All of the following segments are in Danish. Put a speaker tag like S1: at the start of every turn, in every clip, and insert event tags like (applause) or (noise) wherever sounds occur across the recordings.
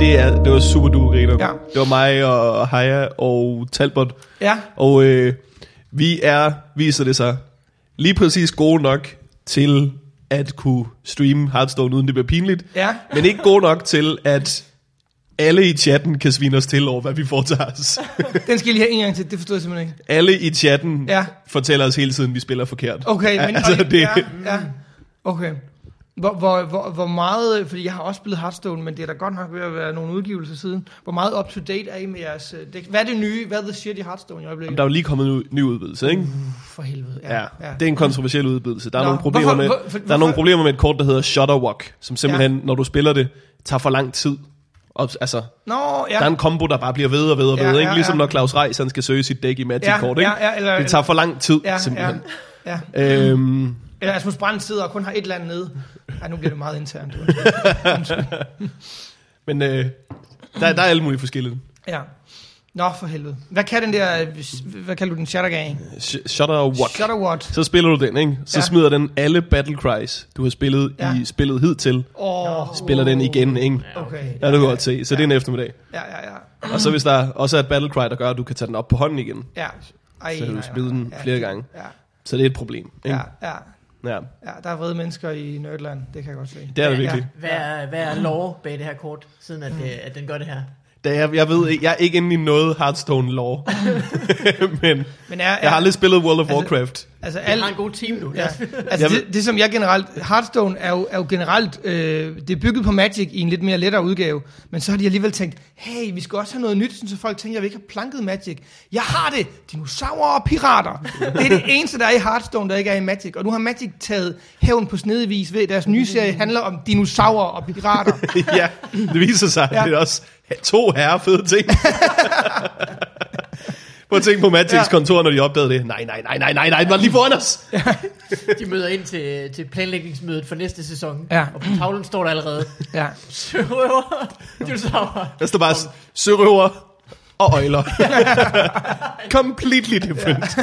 S1: det, er, det var super du, Griner.
S2: Ja.
S1: Det var mig og Haya og Talbot.
S2: Ja.
S1: Og øh, vi er, viser det sig, lige præcis gode nok til at kunne streame Hearthstone, uden det bliver pinligt.
S2: Ja.
S1: Men ikke gode nok til, at alle i chatten kan svine os til over, hvad vi foretager
S2: (laughs)
S1: os.
S2: Den skal I lige have en gang til, det forstod jeg simpelthen ikke.
S1: alle i chatten
S2: Ja.
S1: ja. fortæller os hele tiden, at vi spiller forkert.
S2: Okay, men...
S1: altså, det,
S2: Ja, ja. Okay. Hvor, hvor, hvor, hvor meget, fordi jeg har også spillet Hearthstone, men det er da godt nok ved at være nogle udgivelser siden. Hvor meget up-to-date er I med jeres øh, dæk? Hvad er det nye? Hvad er the shit i Hearthstone i øjeblikket?
S1: Der er jo lige kommet en u- ny udvidelse, ikke?
S2: For helvede.
S1: Ja, ja. Det er en kontroversiel udvidelse. Der er,
S2: Nå,
S1: nogle problemer,
S2: hvorfor-
S1: med,
S2: hvor- for-
S1: der er nogle
S2: hvorfor-
S1: problemer med et kort, der hedder Shutterwalk, som simpelthen, ja. når du spiller det, tager for lang tid. Og, altså, ja.
S2: Nå, ja.
S1: Der er en kombo, der bare bliver ved og ved og
S2: Ja,
S1: ved,
S2: ja,
S1: ikke? Ligesom
S2: ja.
S1: når Claus Reis, han skal søge sit dæk i Magic-kort,
S2: Ja,
S1: ikke?
S2: ja, ja, eller-
S1: det tager for lang tid, ja, simpelthen.
S2: Ja, ja.
S1: Ja. Øhm,
S2: Eller Rasmus Brandt sidder og kun har et eller andet nede. Ej, nu bliver det meget internt. du.
S1: men øh, der, der er alle mulige forskellige.
S2: Ja. Nå, for helvede. Hvad kan den der, øh, hvad kalder du den, Shattergang?
S1: Sh- Shutterwalk.
S2: Shutterwort.
S1: Så spiller du den, ikke? Så
S2: Ja.
S1: ja. smider den alle battle cries, du har spillet
S2: Ja.
S1: ja. i spillet hidtil,
S2: Åh,
S1: spiller den igen, ikke?
S2: okay.
S1: Ja, det kan du godt se. Så det er en eftermiddag.
S2: Ja, ja, ja.
S1: Og så hvis der også er et battle cry, der gør, at du kan tage den op på hånden igen.
S2: ja. Ej,
S1: Så kan du
S2: nej,
S1: smide
S2: nej,
S1: den
S2: nej. Ja,
S1: flere
S2: det-
S1: gange.
S2: Ja,
S1: Så det er et problem. Ikke?
S2: ja, ja.
S1: Ja. ja.
S2: Ja, der er vrede mennesker i Nerdland, det kan jeg godt se.
S1: Det er det virkelig.
S3: Hvad er, hvad er lov bag det her kort, siden
S2: Mm.
S3: at, øh, at den gør det her?
S1: Da jeg, jeg ved ikke, jeg er ikke inde i noget Hearthstone
S2: (laughs)
S1: lore. Men
S2: Men er, er,
S1: jeg har aldrig spillet World of
S2: Altså,
S1: Warcraft.
S2: altså,
S3: Jeg
S2: alt,
S3: har en god team nu.
S2: ja.
S3: Ja.
S2: altså
S1: Jeg ved-
S2: det, det, som jeg generelt, Hearthstone er jo, er jo generelt, øh, det er bygget på Magic i en lidt mere lettere udgave, men så har de alligevel tænkt, hey, vi skal også have noget nyt, sådan så folk tænker, at vi ikke har planket Magic. Jeg har det! Dinosaurer og pirater! Det
S1: (laughs)
S2: er det eneste, der er i Hearthstone, der ikke er i Magic, og nu har Magic taget hævn på snedig vis ved, at deres nye serie handler om dinosaurer og pirater.
S1: (laughs) (laughs) ja, det viser sig,
S2: Ja.
S1: ja. det er også to herre fede ting. Prøv at tænke på Magics
S2: Ja.
S1: ja. kontor, når de opdagede det. Nej, nej, nej, nej, nej, nej, den var lige foran os.
S3: De møder ind til, til planlægningsmødet for næste sæson,
S2: Ja.
S3: og på tavlen står der
S2: (laughs)
S3: allerede,
S2: Ja.
S3: Sørøver, dinosaurer.
S1: Der står bare s- sørøver og
S2: (laughs)
S1: øjler. Completely different.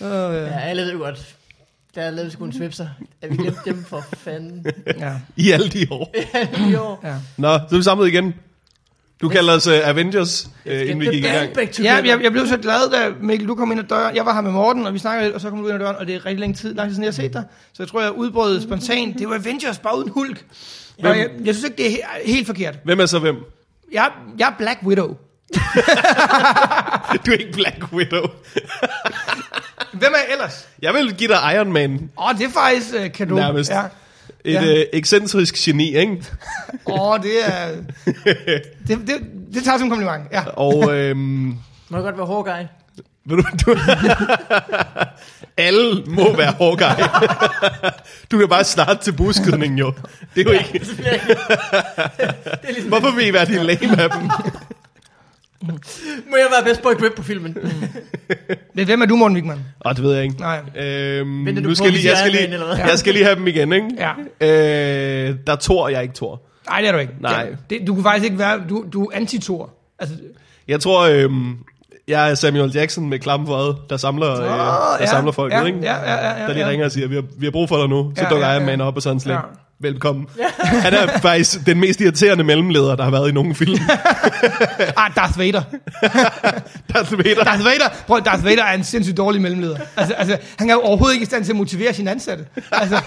S3: Ja, alle ved jo godt. Der er lavet sgu en svipser. Er vi glemt dem for fanden?
S2: ja.
S1: I alle de år.
S3: jo.
S2: ja.
S1: Nå, så er vi samlet igen. Du kalder os uh, Avengers, uh, inden vi gik i gang.
S3: Back to
S2: Ja, jeg, jeg blev så glad, da Mikkel, du kom ind ad døren. Jeg var her med Morten, og vi snakkede lidt, og så kom du ind ad døren, og det er rigtig længe tid, lang tid siden, jeg har set dig. Så jeg tror, jeg udbrød spontant, det var Avengers, bare uden hulk. Og jeg, jeg synes ikke, det er he- helt forkert.
S1: Hvem er så hvem? (laughs)
S2: Jeg, jeg er Black Widow.
S1: Du er ikke Black Widow.
S2: Hvem er jeg ellers?
S1: Jeg vil give dig Iron Man.
S2: Åh, oh, det er faktisk uh, kado.
S1: Nærmest.
S2: Ja.
S1: Et
S2: Ja.
S1: ja. øh, ekscentrisk geni, ikke?
S2: Åh, oh, det er...
S1: (laughs)
S2: Det, det, det tager jeg som kompliment, ja.
S1: Og øhm,
S3: Må jeg godt være Hawkeye?
S1: ved du, du (laughs) alle må være Hawkeye. (laughs) du kan bare starte til buskydningen jo. Det er jo ikke...
S3: Det er ligesom,
S1: Hvorfor vil I være de lame af dem?
S3: må jeg være best boy grip på filmen?
S2: Mm. Men hvem er du, Morten Wigman?
S1: Åh, det ved jeg ikke.
S2: Nej.
S1: Øhm,
S3: Venter
S1: nu
S3: du på,
S1: skal jeg
S3: hvis
S1: lige, jeg
S3: jeg er
S1: skal
S3: med, eller
S1: lige,
S3: hvad?
S1: jeg skal lige have dem igen, ikke?
S2: Ja.
S1: Øh, der er Thor, jeg er ikke Thor.
S2: Nej, det er du ikke.
S1: Nej.
S2: Det, det, du kunne faktisk ikke være... Du, du er antitor. Altså,
S1: Jeg tror, øhm, jeg er Samuel Jackson med klamme for øjet, der samler, øh, der
S2: ja,
S1: samler folk,
S2: ja,
S1: ikke?
S2: ja, ja, ja, ja,
S1: der lige
S2: ja.
S1: ringer og siger, vi har, vi har brug for dig nu. Så
S2: Ja,
S1: ja, dukker
S2: ja,
S1: Iron
S2: ja.
S1: Man op og sådan slet.
S2: Ja.
S1: Ja.
S2: (laughs)
S1: Velkommen. Han er faktisk den mest irriterende mellemleder, der har været i nogen film. (laughs)
S2: ah, Darth Vader.
S1: Darth
S2: (laughs)
S1: Vader.
S2: Darth Vader, prøv, Darth Vader er en sindssygt dårlig mellemleder. Altså, altså, han er jo overhovedet ikke i stand til at motivere sine ansatte. Altså,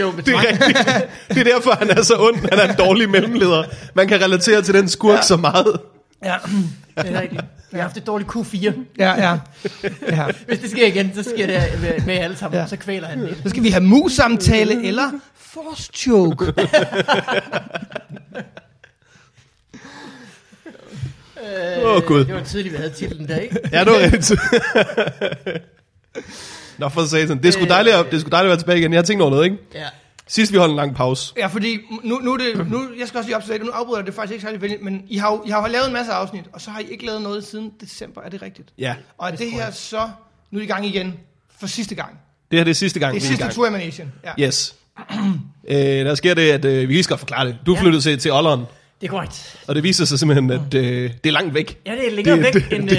S3: Jo, men
S1: Det er, rigtigt. det er derfor, han er så ond. Han er en dårlig mellemleder. Man kan relatere til den skurk ja. så meget.
S2: (laughs) ja,
S3: det er rigtigt. Jeg har haft et dårligt Q4.
S2: ja, ja. ja.
S3: Hvis det sker igen, så sker det med, med alle sammen,
S2: Ja.
S3: ja. så kvæler han det.
S2: Så skal vi have mus-samtale eller force choke.
S1: Åh, Gud.
S3: Øh, Det var tidligt, vi havde titlen der, ikke?
S1: Ja, det var rigtigt. Nå, for satan. Det er
S2: Øh.
S1: sgu dejligt, at- det er sgu dejligt at være tilbage igen. Jeg har tænkt over noget, ikke?
S3: Ja.
S1: Sidst vi holdt en lang pause.
S2: Ja, fordi nu, nu, er det, nu, jeg skal også lige opsætte, nu afbryder jeg det faktisk ikke særlig venligt, men I har, jo- I har jo lavet en masse afsnit, og så har I ikke lavet noget siden december, er det rigtigt?
S1: Ja.
S2: Og er det her så, nu er I i gang igen, for sidste gang.
S1: Det her det er sidste gang,
S2: Det er
S1: vi
S2: sidste
S1: gang.
S2: tur i Manation. Ja.
S1: Yes. (clears throat) øh, der sker det, at øh, vi lige skal forklare det. Du flyttede til, til Olleren,
S3: Det er korrekt.
S1: og det viser sig simpelthen, at øh, det er langt væk.
S3: Ja, det er længere
S1: Det-
S3: væk
S1: det-
S3: end,
S1: det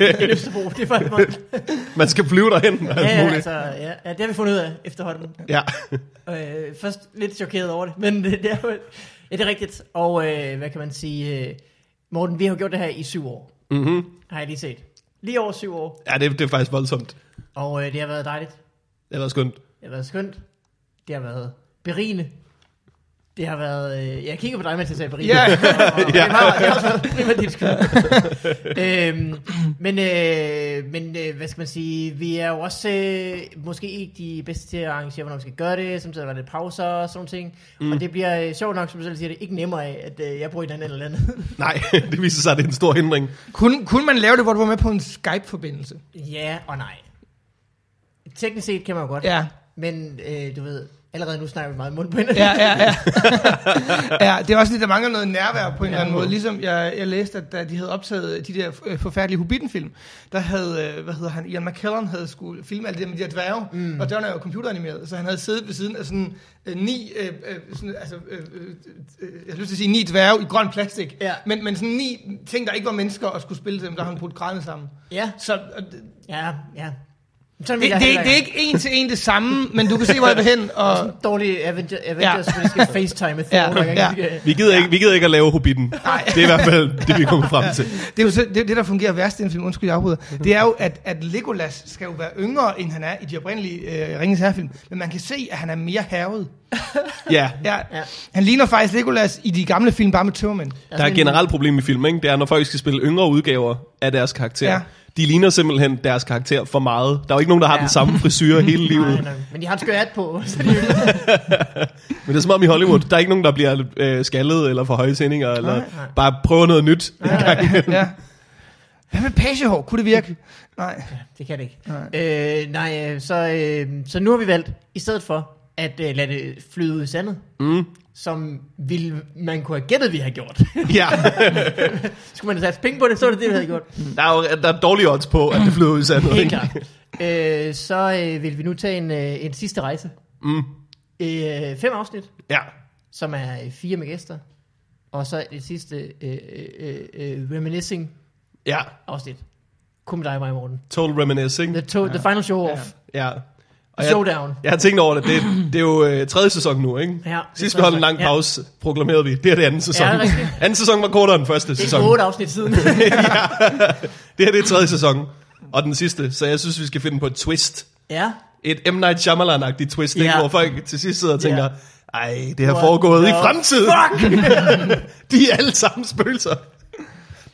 S3: øh, (laughs) end Østerbro. Det er faktisk meget.
S1: Man skal flyve derhen. Og
S3: Ja,
S1: alt
S3: ja,
S1: muligt.
S3: altså, ja, ja, det har vi fundet ud af efterhånden.
S1: Ja. (laughs)
S3: Øh, først lidt chokeret over det, men det, det er jo... Ja, det er rigtigt. Og øh, hvad kan man sige? Øh, Morten, vi har jo gjort det her i syv år.
S1: Mm-hmm.
S3: Har jeg lige set. Lige over syv år.
S1: Ja, det, det er faktisk voldsomt.
S3: Og øh, det har været dejligt.
S1: Det har været skønt.
S3: Det har været skønt. Det har været berigende. Det har været... Øh, jeg kigger på dig, mens jeg sagde berigende.
S2: Ja.
S3: ja. (laughs) Det har, det har også været primært dit skyld.
S2: (laughs)
S3: øhm, men øh, men øh, hvad skal man sige? Vi er jo også øh, måske ikke de bedste til at arrangere, hvornår vi skal gøre det. Samtidig var det pauser og sådan nogle ting. Mm. Og det bliver øh, sjovt nok, som du selv siger, det ikke nemmere af, at øh, jeg bor i et andet (laughs) land.
S1: Nej, (laughs) det viser sig, at det er en stor hindring.
S2: Kun, kunne man lave det, hvor du var med på en Skype-forbindelse?
S3: ja og nej. Teknisk set kan man jo godt.
S2: Ja,
S3: Men øh, du ved, allerede nu snakker vi meget i mund på hinanden.
S2: ja, ja, ja. ja. (laughs) Det er også lidt, der mangler noget nærvær på en eller anden måde. Ligesom jeg, jeg læste, at da de havde optaget de der øh, forfærdelige Hobbiten-film, der havde, øh, hvad hedder han, Ian McKellen havde skulle filme alt det der med de her dværge, mm. og dørene er jo computeranimeret, så han havde siddet ved siden af sådan øh, ni, øh, øh, sådan, altså, øh, øh, øh, jeg har lyst til at sige ni dværge i grøn plastik,
S3: Ja.
S2: men, men sådan ni ting, der ikke var mennesker og skulle spille til dem, der har han brugt grædende sammen.
S3: (laughs) ja.
S2: Så øh,
S3: Ja, ja. Sådan
S2: Det, det, det, det er ikke en til en det samme, men du kan se, hvor jeg vil hen. (laughs) Og,
S3: dårlig Avenger, Avengers, ja. hvor (laughs) de skal facetime
S2: Ja,
S3: Thor,
S2: ja.
S3: ja. Ja. Skal...
S1: Vi gider, ja. ikke, vi gider ikke at lave Hobbiten. Nej. Det er i hvert fald det, vi kommer frem til.
S2: det er jo så, det, det, der fungerer værst i en film, undskyld, jeg afbryder. Det er jo, at, at Legolas skal jo være yngre, end han er i de oprindelige øh, Ringens Herrefilm, men man kan se, at han er mere hervet.
S1: Ja,
S2: Ja,
S3: (laughs) Ja.
S2: ja. Han ligner faktisk Legolas i de gamle film, bare med tømmermænd.
S1: der er et generelt problem i film, ikke? Det er, når folk skal spille yngre udgaver af deres karakter. Ja.
S2: Ja.
S1: De ligner simpelthen deres karakter for meget. Der er jo ikke nogen, der har ja.
S3: Ja.
S1: den samme frisyr hele livet.
S3: (laughs) Nej, nej, men de har en skør hat på. (laughs) Så de,
S1: Men det er som om i Hollywood, der er ikke nogen, der bliver øh, skaldet eller for høje tændinger, eller
S2: Nej,
S1: nej. bare prøver noget nyt.
S3: (laughs)
S2: Ja. Hvad med pagehår? Kunne det virke? Nej.
S3: det kan det ikke.
S2: Nej.
S3: Nej, øh, nej øh, så, øh, så nu har vi valgt, i stedet for at øh, lade det flyde ud i sandet,
S1: Mm.
S3: som ville, man kunne have gættet, vi har gjort. (laughs)
S1: Ja,
S3: Skulle man have sat penge på det, så var det det, vi havde gjort.
S1: (laughs) der er, jo, der er dårlige odds på, at det flyder ud i sandet.
S3: Helt
S1: ikke?
S3: klart. Øh, så øh, vil vi nu tage en, øh, en sidste rejse.
S1: Mm.
S3: Øh, fem afsnit.
S1: Ja.
S3: som er øh, fire med gæster. Og så det sidste øh, øh, øh, reminiscing
S1: ja,
S3: afsnit. Kun med dig og mig, Morten.
S1: total reminiscing.
S3: The, to, ja. the final show off.
S1: Ja.
S3: Ja.
S1: Og jeg,
S3: Showdown.
S1: jeg har tænkt over det. Det, det er jo øh, tredje sæson nu, ikke?
S3: Ja,
S1: Sidst vi holdt en lang pause, ja. proklamerede vi, det er det anden sæson.
S3: Ja, det er rigtigt.
S1: anden sæson var kortere end første
S3: Det
S1: sæson.
S3: er otte afsnit siden.
S1: Det her det er tredje sæson, og den sidste, så jeg synes, vi skal finde på et twist.
S3: ja.
S1: Et M. Night Shyamalan-agtigt twist, ikke?
S3: Ja.
S1: hvor folk til sidst sidder og tænker,
S3: Ja.
S1: ej, det har
S3: What
S1: foregået i
S3: the
S1: fremtiden. (laughs) De er alle sammen spøgelser.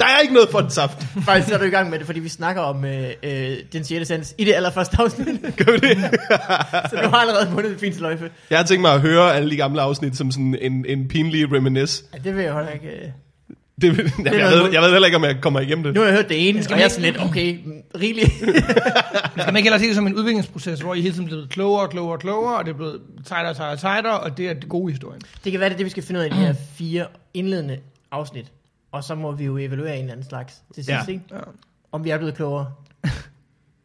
S1: Der er ikke noget for den saft.
S3: Faktisk så er du i gang med det, fordi vi snakker om øh, øh, den 6. sens i det allerførste afsnit.
S1: Gør vi det?
S3: (laughs) så du har allerede vundet en fin sløjfe.
S1: Jeg har tænkt mig at høre alle de gamle afsnit som sådan en, en pinlig reminis.
S3: Ja, det vil jeg jo heller ikke. Øh.
S1: Det, (laughs) jamen, jeg,
S3: noget
S1: ved, jeg ved heller ikke, om jeg kommer igennem det.
S3: Nu har jeg hørt det ene,
S2: skal
S3: og
S2: vi
S3: jeg er
S2: ikke-
S3: sådan lidt, okay, mm, rigeligt. (laughs)
S2: Skal man ikke ellers se det som en udviklingsproces, hvor I hele tiden er blevet klogere og klogere og klogere, og det er blevet tightere og tightere og tightere, og det er det gode i historien.
S3: det kan være, det er det, vi skal finde ud af i de her fire indledende afsnit. Og så må vi jo evaluere en eller anden slags til sidst,
S1: Ja.
S3: ja. ikke?
S2: Ja.
S3: om vi er blevet klogere. (laughs)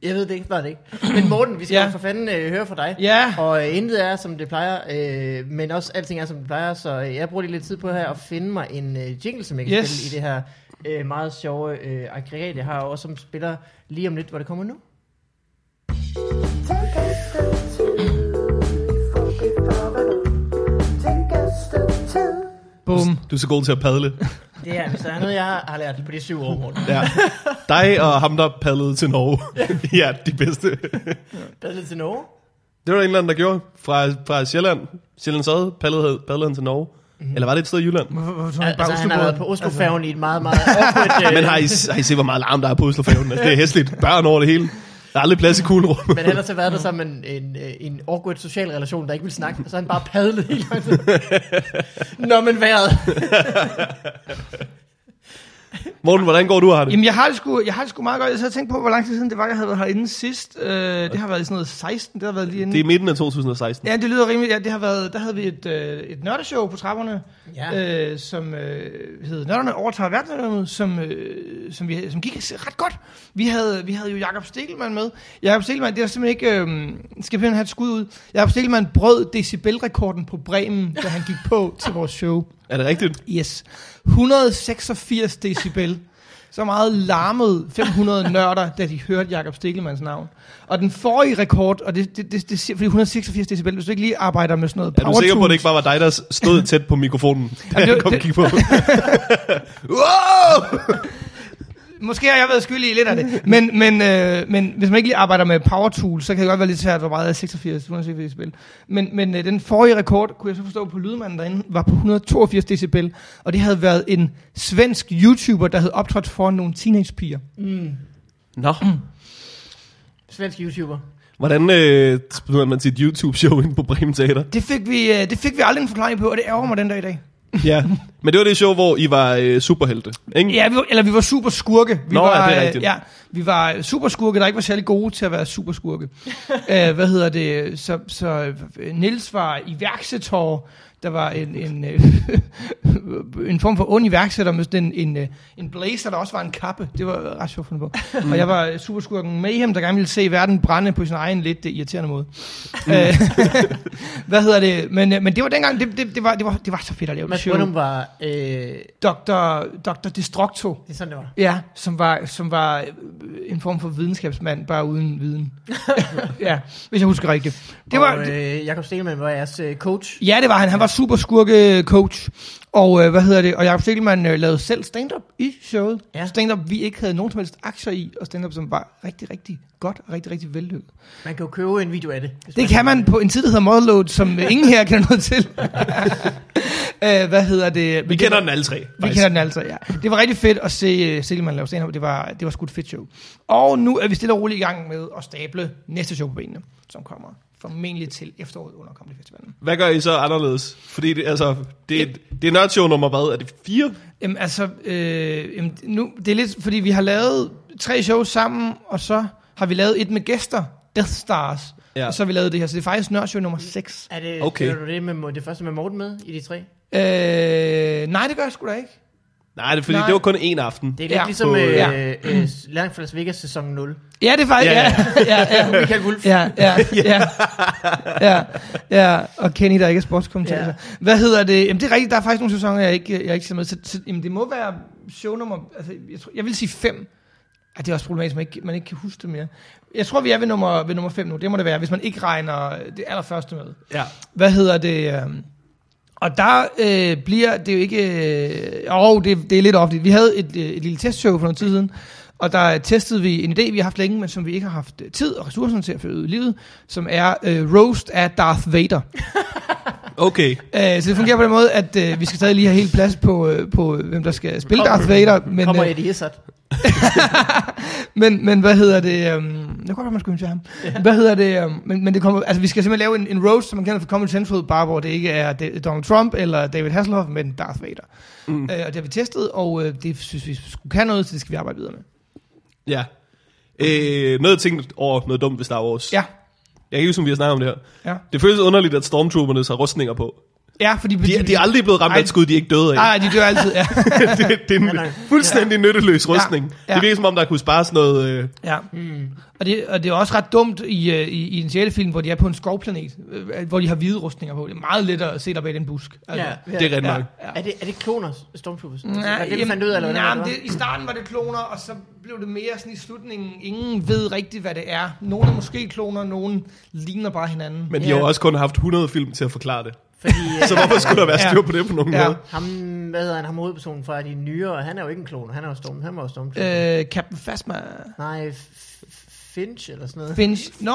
S3: Jeg ved det ikke, var det ikke. Men Morten, vi skal
S2: Ja.
S3: ja. for fanden øh, høre fra dig.
S2: Ja.
S3: Og øh, intet er, som det plejer, øh, men også alting er, som det plejer, så øh, jeg bruger lige lidt tid på her at finde mig en øh, jingle, som jeg kan
S2: Yes.
S3: spille i det her øh, meget sjove øh, aggregat, jeg har, og som spiller lige om lidt, hvor det kommer nu.
S4: Take a step two, for Take a step two.
S2: Boom.
S1: Du er så god til at padle.
S3: Det er, hvis der er noget, jeg har, har lært på de syv år, Morten.
S1: Ja.
S3: (laughs)
S1: Dig og ham, der padlede til Norge. (laughs) ja, de bedste.
S3: Der er lidt til Norge.
S1: Det var der en eller anden, der gjorde fra, fra Sjælland. Sjællands Odde padlede, padlede han til Norge.
S3: Mhm.
S1: Mm-hmm. Eller var det et sted i Jylland?
S2: Hvorfor, hvorfor tog han
S3: Altså,
S2: bare
S3: han har været
S2: Oslobåden?
S3: på Oslo-færgen altså. i et meget,
S2: (laughs)
S3: meget awkward, øh,
S1: (laughs) Men har I, har I set, hvor meget larm der er på Oslofævnen? Altså, det er hæsligt. Børn over det hele. Der er aldrig plads i kuglerummet.
S3: Men han har så været der som en, en, øh, en awkward social relation, der ikke vil snakke, og så har han bare padlet hele
S2: (laughs)
S3: tiden. Nå, men vejret.
S1: Morten, hvordan går du og har det?
S2: Jamen, jeg har det sgu, jeg har det sgu meget godt. Jeg sad og tænkte på, hvor lang tid siden det var, jeg havde været herinde sidst. Øh, det har været i sådan noget 16, det har været lige inden.
S1: Det er midten af 2016.
S2: Ja, det lyder rimeligt. Ja, det har været, der havde vi et, øh, et nørdeshow på trapperne,
S3: Ja.
S2: øh, som øh, hed Nørderne overtager verdensrummet, som, øh, som, vi, som gik ret godt. Vi havde, vi havde jo Jakob Stikkelmann med. Jakob Stikkelmann, det er simpelthen ikke... Øh, skal vi have et skud ud? Jakob Stikkelmann brød decibelrekorden på Bremen, da han gik på til vores show.
S1: Er det rigtigt?
S2: Yes. 186 decibel. så meget larmede 500 nørder, da de hørte Jakob Stikkelmanns navn. Og den forrige rekord, og det, det, det, det siger, fordi 186 decibel, hvis du ikke lige arbejder med sådan noget
S1: Er du sikker på, at
S2: power-tunes-
S1: det ikke bare var dig, der stod tæt på mikrofonen, da
S2: (laughs) Jamen, det-
S1: jeg kom og
S2: det-
S1: kiggede på?
S2: (laughs)
S1: wow!
S2: Måske har jeg været skyldig i lidt af det. Men, men, øh, men hvis man ikke lige arbejder med power tools, så kan det godt være lidt svært, hvor meget er 86, 186 decibel. Men, men øh, den forrige rekord, kunne jeg så forstå på lydmanden derinde, var på 182 decibel. Og det havde været en svensk YouTuber, der havde optrådt foran nogle teenagepiger.
S3: Mm.
S1: Nå,
S3: Svensk YouTuber.
S1: hvordan øh, spiller man sit YouTube-show ind på Bremen Teater?
S2: Det fik, vi, øh, det fik vi aldrig en forklaring på, og det ærger mig den dag i dag.
S1: Ja, men det var det show, hvor I var øh, superhelte, ikke?
S2: Ja, vi var, eller vi var super skurke. Vi
S1: Nå, ja,
S2: var,
S1: det er
S2: øh,
S1: rigtigt.
S2: Ja, vi var super skurke, der ikke var særlig gode til at være super
S1: (laughs)
S2: skurke. Æh, hvad hedder det? Så, så Nils var iværksætter, der var en, en, øh, (laughs) en form for ond iværksætter med sådan en, en, øh, en blazer, der også var en kappe. Det var ret sjovt fundet på.
S1: (laughs)
S2: Og jeg var superskurken Mayhem, der gerne ville se verden brænde på sin egen lidt øh, irriterende måde.
S1: Mm.
S2: Æh, (laughs) hvad hedder det? Men, øh, men det var dengang, det, det, det, var, det, var, det var så fedt at lave det
S3: Mads
S2: show.
S3: Brøndum var... Øh,
S2: Dr. Dr. Destructo.
S3: det er sådan, det var.
S2: Ja, som var, som var øh, en form for videnskabsmand, bare uden
S3: (laughs)
S2: viden. ja, hvis jeg husker rigtigt. Det var,
S3: og, øh, Jakob Stelman var jeres øh, coach.
S2: ja, det var han. Han var super skurke øh, coach. Og øh, hvad hedder det? Og Jacob Stikkelmann øh, lavede selv stand-up i showet. Ja.
S3: Ja.
S2: Stand-up, vi ikke havde nogen som helst aktier i, og stand-up, som var rigtig, rigtig godt og rigtig, rigtig vellykket.
S3: Man kan jo købe en video af det. hvis
S2: Det kan man på en tid, der hedder Modload,
S3: (laughs)
S2: som øh, ingen her kender noget til. (laughs) øh, hvad hedder det?
S1: Vi kender den alle tre,
S2: Vi
S1: faktisk.
S2: kender den altså, ja. Det var rigtig fedt at se uh, Silman lave stand Det var, det var sgu et fedt show. Og nu er vi stille og roligt i gang med at stable næste show på benene, som kommer formentlig til efteråret under Comedy Festivalen.
S1: Hvad gør I så anderledes? Fordi det, altså, det, er, det er nørdshow nummer hvad? Er det fire?
S2: Jamen altså, øh, jamen, nu, det er lidt, fordi vi har lavet tre shows sammen, og så har vi lavet et med gæster, Death Stars,
S1: Ja.
S2: ja. og så har vi lavet det her. Så det er faktisk nørdshow nummer 6.
S3: Er det,
S1: Okay.
S3: okay. du det, med, Mo- det første med Morten med i de tre?
S2: Øh, nej, det gør jeg sgu da ikke.
S1: Nej, det er fordi,
S2: Nej.
S1: det var kun én aften.
S3: Det er lidt
S2: Ja.
S3: ja. ligesom
S1: På,
S3: øh,
S2: ja.
S3: ja. øh, Langt fra Las Vegas sæson 0.
S2: Ja, det er faktisk,
S1: Ja,
S2: ja, (laughs) ja, ja, ja.
S3: Michael Wolf.
S2: Ja, ja, ja, ja, ja, og Kenny, der ikke er sportskommentator. Ja.
S3: Ja.
S2: Hvad hedder det? Jamen, det er rigtigt, der er faktisk nogle sæsoner, jeg ikke, jeg ikke ser med. Så, så, jamen, det må være shownummer, altså, jeg, tror, jeg vil sige fem. Ja, det er også problematisk, man ikke, man ikke kan huske det mere. Jeg tror, vi er ved nummer, ved nummer fem nu, det må det være, hvis man ikke regner det allerførste med.
S1: Ja.
S2: Hvad hedder det? øhm, Og der øh, bliver det jo ikke... Øh, åh, det, det er lidt ofte. Vi havde et, øh, et lille testshow for noget tid siden, og der testede vi en idé, vi har haft længe, men som vi ikke har haft øh, tid og ressourcerne til at føre ud i livet, som er øh, roast af Darth Vader.
S1: Okay.
S2: Øh, så det fungerer på den måde, at øh, vi skal stadig lige have helt plads på, øh, på øh, hvem der skal spille Darth Vader. Men,
S3: Kommer
S2: øh,
S3: Eddie Izzard. men
S2: men, men hvad hedder det? Øhm, det kunne godt være, man skulle invitere ham. Ja. Hvad hedder det? Øhm, men, men det kommer, altså, vi skal simpelthen lave en, en roast, som man kender fra Comedy Central, bare hvor det ikke er Da- Donald Trump eller David Hasselhoff, men Darth Vader. Mm. Øh, og det har vi testet, og øh, det synes vi skulle kan noget, så det skal vi arbejde videre med.
S1: Ja. Øh, noget tænkt over noget dumt ved Star Wars.
S2: Ja,
S1: Jeg kan ikke huske, om vi har snakket om det her.
S2: ja.
S1: Det føles underligt, at stormtrooperne har rustninger på.
S2: Ja, fordi...
S1: De, de er aldrig blevet ramt af
S2: Ej.
S1: et skud, de er ikke døde af.
S2: Nej, de dør altid, ja.
S1: (laughs) det, det er en
S3: Nej, nej.
S1: fuldstændig nytteløs rustning.
S2: Ja.
S1: Det virker som om, der kunne spares noget... Øh,
S2: ja. Mm. Og, det, og det er også ret dumt i, øh, i, i en sjæle film, hvor de er på en skovplanet, øh, hvor de har hvide rustninger på. Det er meget let at se der bag den busk. Altså.
S3: Ja.
S1: det er rent
S2: Ja.
S1: nok.
S3: Er det, er det kloner, Stormtroopers? Nej,
S2: Nej,
S3: Altså, er det, du
S2: jamen,
S3: fandt ud af, eller
S2: nej,
S3: hvordan
S2: men
S3: det,
S2: det, I starten var det kloner, og så blev det mere sådan i slutningen. Ingen ved rigtigt, hvad det er. Nogle er måske kloner, nogle ligner bare hinanden.
S1: Men de
S3: Ja.
S1: har jo også kun haft 100 film til at forklare det.
S3: Fordi,
S1: (laughs)
S3: øh,
S1: Så hvorfor skulle der være
S2: Ja.
S1: styr på det på nogen
S2: Ja.
S1: ja. måde?
S3: Ham, hvad hedder han, ham hovedpersonen fra de nyere, han er jo ikke en klon, han er jo storm, han var jo stormtrooper. Øh.
S2: Øh, Captain Phasma...
S3: Nej, F- F- Finch eller sådan noget.
S2: Finch... Nå,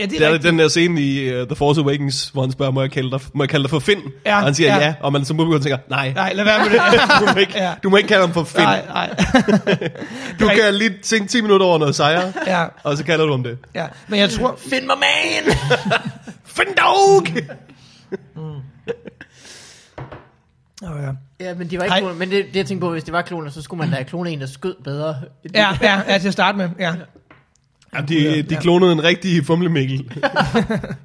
S2: ja, det er,
S1: Det er
S2: rigtigt.
S1: den der scene i uh, The Force Awakens, hvor han spørger, må jeg kalde dig, må jeg kalde dig for Finn?
S2: Ja,
S1: og han siger
S2: ja.
S1: ja, ja og man som publikum tænker, nej,
S2: Nej, lad være med det.
S1: (laughs) du, må ikke,
S2: (laughs) Ja.
S1: ja. du må ikke kalde ham for Finn.
S2: nej,
S1: Nej,
S2: nej.
S1: du kan lige tænke 10 minutter over noget sejre,
S2: Ja,
S1: og så kalder du om det.
S2: ja. Men jeg tror...
S3: Find mig man!
S1: Finn dog!
S2: Oh, Mm. ja.
S3: ja, men de var ikke
S2: Hej.
S3: kloner, men det, det jeg tænkte på, hvis det var kloner, så skulle man da klone en, der skød bedre.
S2: Ja, ja, ja, til at starte med. Ja.
S1: Jamen, de, de klonede en rigtig (laughs) fumlemikkel.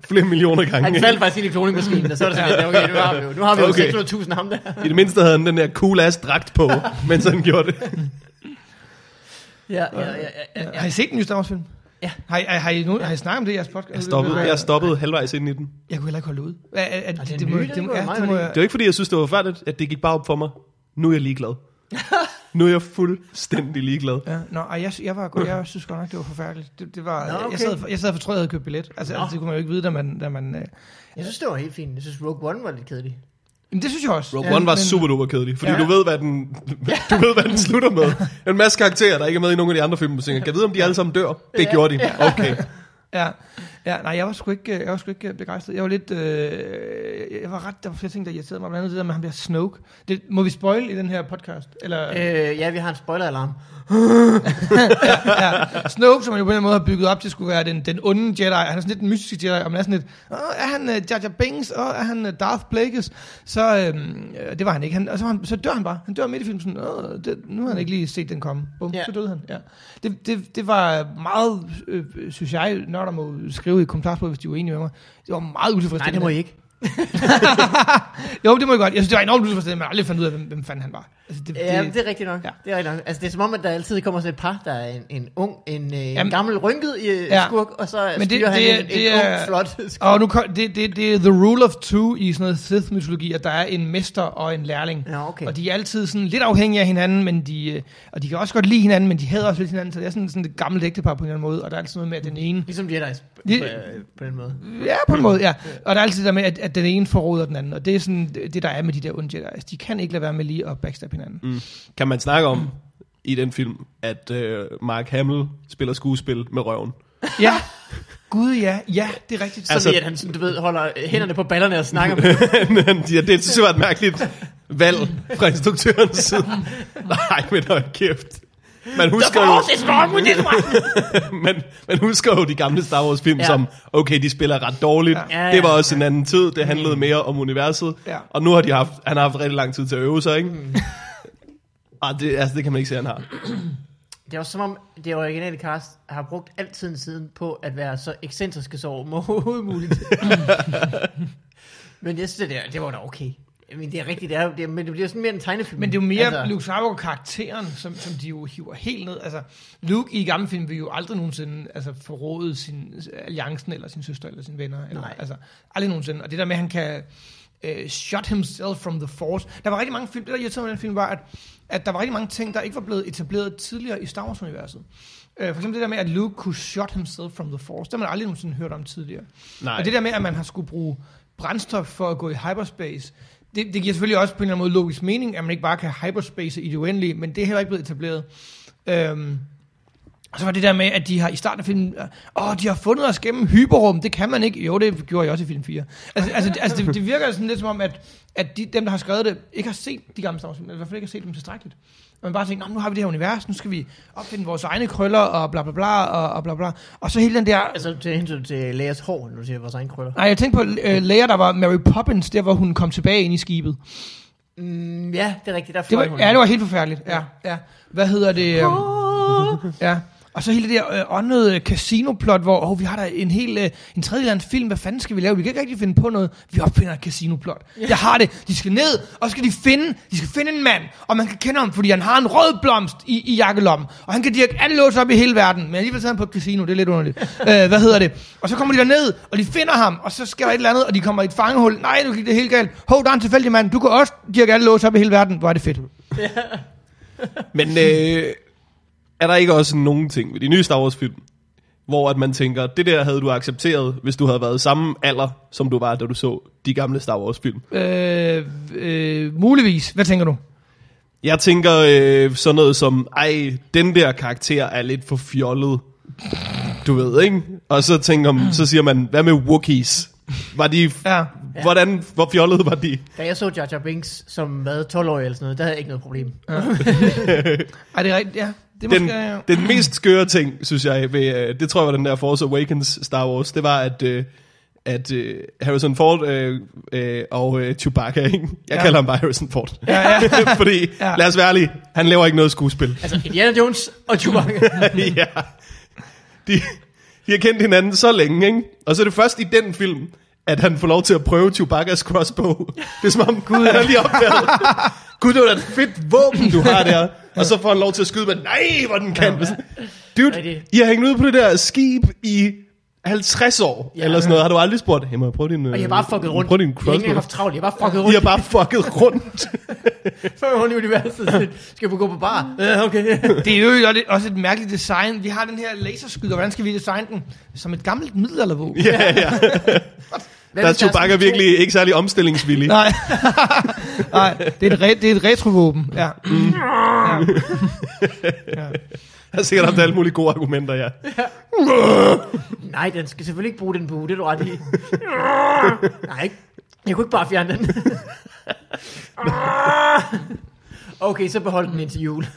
S1: Flere millioner gange.
S3: Han
S1: ikke?
S3: faldt faktisk ind i kloningmaskinen, og så er det sådan, lidt, okay, nu har vi jo, nu har vi jo
S1: Okay.
S3: 600.000 ham der.
S1: I det mindste havde han den der cool ass dragt (laughs) på, mens han gjorde det.
S3: Ja, ja, ja, ja, ja.
S2: Har I set den nye Star Wars-film?
S3: Ja.
S2: Har I, har, I, nu, har I snakket om det i jeres podcast?
S1: Jeg stoppede, jeg stoppede halvvejs ind i den.
S2: jeg kunne heller ikke holde ud. Er, er, er,
S3: det er
S2: det,
S3: en
S2: må,
S3: myte,
S2: det,
S3: det
S2: må,
S3: går
S2: ja,
S3: meget
S2: det må
S3: godt i.
S2: jeg...
S3: (laughs)
S1: Det var ikke, fordi jeg synes, det var forfærdeligt, at det gik bare op for mig. Nu er jeg ligeglad. Nu er jeg fuldstændig ligeglad.
S2: Ja, nå, ej, jeg, sy- jeg, var, godt- jeg synes godt nok, det var forfærdeligt. Det, det var,
S3: Nå,
S2: nå, okay.
S3: okay.
S2: jeg, sad, for- jeg sad og fortrød, at jeg havde købt billet. Altså,
S3: Nå.
S2: altså, det kunne man jo ikke vide, da man... Da man øh,
S3: Jeg synes, det var helt fint. Jeg synes, Rogue One var lidt kedelig.
S2: men det synes jeg også.
S1: Rogue One var
S2: men,
S1: super duper kedelig, fordi
S2: Ja.
S1: ja. du ved, hvad den, (laughs) du ved, hvad den slutter
S3: (laughs)
S1: med. En masse karakterer, der ikke er med i nogen af de andre film, du tænker, kan jeg vide, om de alle sammen dør? Det
S3: Ja.
S1: gjorde de. Okay.
S2: Ja, ja, nej, jeg var sgu ikke, øh, jeg var sgu ikke begejstret. Jeg var lidt... Øh, jeg var ret... Der var flere ting, der irriterede mig. Blandt andet det der med, at han bliver Snoke. Det, må vi spoil i den her podcast? Eller, øh.
S3: Øh, ja, vi har en spoiler-alarm.
S2: ja, Snoke, som man jo på en eller anden måde har bygget op til, skulle være den, den onde Jedi. Han er sådan lidt en mystisk Jedi, og man er sådan lidt... Åh, er han uh, Jar Jar Binks? Åh, er han uh, Darth Plagueis? Så øhm, øh, det var han ikke. Han, og så, var han, så dør han bare. Han dør midt i filmen sådan... Åh, det, nu har han ikke lige set den komme. Bum,
S3: Ja.
S2: så døde han. Ja. Det, det, det var meget, øh, øh, synes jeg, når der må skrive i kommentarsporet, hvis de er uenige med mig. Det var meget
S3: Nej,
S2: utilfredsstillende.
S3: det må I ikke.
S2: jo, det må jeg godt. Jeg synes, det var enormt utilfredsstillende, men jeg har aldrig fandt ud af, hvem, hvem fanden han var. Altså, det,
S3: Ja, det, det er rigtigt nok.
S2: Ja.
S3: Ja. Det er rigtigt nok. Altså, det er som om, at der altid kommer sådan et par, der er en, en ung, en, øh,
S2: Jamen-
S3: en gammel rynket øh,
S2: Ja.
S3: ja. skurk, og så
S2: Men det-
S3: men styrer
S2: det er-
S3: han en,
S2: det
S3: en
S2: er-
S3: ung, flot skurk.
S2: Og nu kom, det, det, det er the rule of two i sådan noget Sith-mytologi, at der er en mester og en lærling.
S3: Ja, okay.
S2: Og de er altid sådan lidt afhængige af hinanden, men de, øh, og de kan også godt lide hinanden, men de hader også lidt hinanden, så det er sådan, sådan et gammelt ægtepar på en eller anden måde, og der er altid noget med, at den ene...
S3: Ligesom Jedi's
S2: Det-
S3: på, øh, på den måde.
S2: Ja, på en måde, ja. Og der er altid det der med, at, at den ene forråder den anden, og det er sådan det, der er med de der onde Jedi's. De kan ikke lade være med lige at backstabbe hinanden. Mm.
S1: Kan man snakke om i den film, at øh, Mark Hamill spiller skuespil med røven?
S2: Ja, gud ja, ja, det er rigtigt.
S3: Så
S1: Altså-
S3: altså, at han sådan, du ved, holder øh, hænderne på ballerne og snakker med
S1: Men ja, det synes jeg var et mærkeligt valg fra instruktørens side. Nej, men hold kæft. Man husker, jo,
S3: is wrong with this one.
S1: man, man husker jo de gamle Star Wars film ja.
S3: Ja.
S1: som, okay, de spiller ret dårligt.
S2: Ja.
S1: Ja, det var også ja. Mm. en anden tid, det handlede mere om universet.
S2: Ja.
S1: Og nu har de haft, han har haft rigtig lang tid til at øve sig, ikke? Mm. Og det, altså, det kan man ikke se, han har.
S3: Det er også som om, det originale cast har brugt al tiden siden på at være så ekscentriske så overhovedet
S2: (laughs)
S3: muligt. men jeg synes, det, er, det var da okay. Men det er rigtigt, det er, det er, men det bliver sådan mere en tegnefilm.
S2: Men det er jo mere altså.
S3: altså,
S2: Luke Skywalker-karakteren, som, som de jo hiver helt ned. Altså, Luke i gamle film vil jo aldrig nogensinde altså, forråde sin alliancen, eller sin søster, eller sine venner. Eller,
S3: Nej.
S2: Altså, aldrig nogensinde. Og det der med, at han kan uh, shot himself from the force. Der var rigtig mange film, det der irriterede mig i den film, var, at, at der var rigtig mange ting, der ikke var blevet etableret tidligere i Star Wars-universet. Uh, for eksempel det der med, at Luke kunne shot himself from the force. Det har man aldrig nogensinde hørt om tidligere.
S1: Nej.
S2: Og det der med, at man har skulle bruge brændstof for at gå i hyperspace, det, det giver selvfølgelig også på en eller anden måde logisk mening, at man ikke bare kan hyperspace i det uendelige, men det er heller ikke blevet etableret. Øhm, og så var det der med, at de har i starten af filmen, øh, åh, de har fundet os gennem hyperrum, det kan man ikke. Jo, det gjorde jeg også i film 4. Altså, altså, altså det, det virker sådan lidt som om, at, at de, dem, der har skrevet det, ikke har set de gamle Star Wars, eller i hvert fald ikke har set dem tilstrækkeligt. Og man bare tænker, "Nå, nu har vi det her univers, nu skal vi opfinde vores egne krøller, og bla bla bla, og, og bla bla. Og så hele den der
S3: Altså til hensyn til Leas hår, når du siger vores egen krøller.
S2: Nej, jeg tænkte på uh, Leia, der var Mary Poppins, der hvor hun kom tilbage ind i skibet.
S3: Mm, ja, det er rigtigt, der
S2: Det var,
S3: fløj hun.
S2: ja, det var helt forfærdeligt. Ja, ja. Hvad hedder det? Um, ja. Og så hele det der øh, åndede casinoplot, hvor oh, vi har der en hel øh, en tredje anden film, hvad fanden skal vi lave? Vi kan ikke rigtig finde på noget. Vi opfinder et casinoplot. Jeg har det. De skal ned, og så skal de finde, de skal finde en mand, og man kan kende ham, fordi han har en rød blomst i, i jakkelommen, og han kan dirke alle låse op i hele verden, men alligevel sidder han på et casino, det er lidt underligt. øh, hvad hedder det? Og så kommer de derned, og de finder ham, og så sker der et eller andet, og de kommer i et fangehul. Nej, nu gik det helt galt. Hov, der er en tilfældig mand. Du kan også dirke alle låse op i hele verden. Hvor er det fedt.
S1: Men øh, er der ikke også nogen ting ved de nye Star Wars film, hvor at man tænker, det der havde du accepteret, hvis du havde været samme alder, som du var, da du så de gamle Star Wars film?
S2: Øh, øh, muligvis. Hvad tænker du?
S1: Jeg tænker øh, sådan noget som, ej, den der karakter er lidt for fjollet. Du ved, ikke? Og så tænker man, så siger man, hvad med Wookiees? Var de,
S2: Ja.
S1: hvordan, hvor fjollede var de?
S3: Da jeg så Jar Jar Binks som hvad, 12-årig eller sådan noget, der havde jeg ikke noget problem.
S2: Ej, det er rigtigt, ja. Det er
S1: den,
S2: måske, ja.
S1: den mest skøre ting, synes jeg, ved, øh, det tror jeg var den der Force Awakens Star Wars, det var, at, øh, at øh, Harrison Ford øh, øh, og øh, Chewbacca, ikke? jeg
S2: Ja.
S1: ja. kalder ham bare Harrison Ford,
S2: Ja, ja.
S1: (laughs) fordi
S2: Ja.
S1: ja. lad os være ærlige, han laver ikke noget skuespil.
S3: Altså Indiana Jones og
S2: (laughs)
S3: Chewbacca.
S1: ja. de, de har kendt hinanden så længe, ikke? og så er det først i den film, at han får lov til at prøve Chewbacca's crossbow. Det er som om, Gud, han har lige opdaget. Gud, det var da et fedt våben, du har der. Og så får han lov til at skyde med, nej, hvor den kan. Dude,
S3: Rigtig.
S1: I har hængt ud på det der skib i 50 år, ja. eller sådan noget. Har du aldrig spurgt, hey, må jeg prøve din,
S3: og jeg har bare fucket rundt.
S1: Prøv din
S3: Jeg har ikke
S1: crossbow.
S3: (laughs) engang haft travlt, jeg har bare fucket
S1: I
S3: rundt.
S1: har bare fucket rundt.
S3: så er hun i universet. sådan, Skal vi gå på bar? (laughs) Ja, okay.
S2: Det er jo i øvrigt også et mærkeligt design. Vi har den her laserskyder. Hvordan skal vi designe den? Som et gammelt middelaldervåben.
S1: ja, ja.
S3: Hvad
S1: Der er
S3: hvis sådan
S1: Chewbacca
S3: to-
S1: virkelig ikke særlig omstillingsvillig.
S2: Nej. (laughs) Nej, det er et, re- det er et retrovåben. Ja. Mm. ja.
S1: Jeg ser der er alle mulige gode argumenter, ja.
S3: Nej, den skal selvfølgelig ikke bruge den bue, det er du
S2: (laughs)
S3: ret i. Nej, ikke. jeg kunne ikke bare
S2: (laughs)
S3: fjerne den. okay, så behold den indtil jul.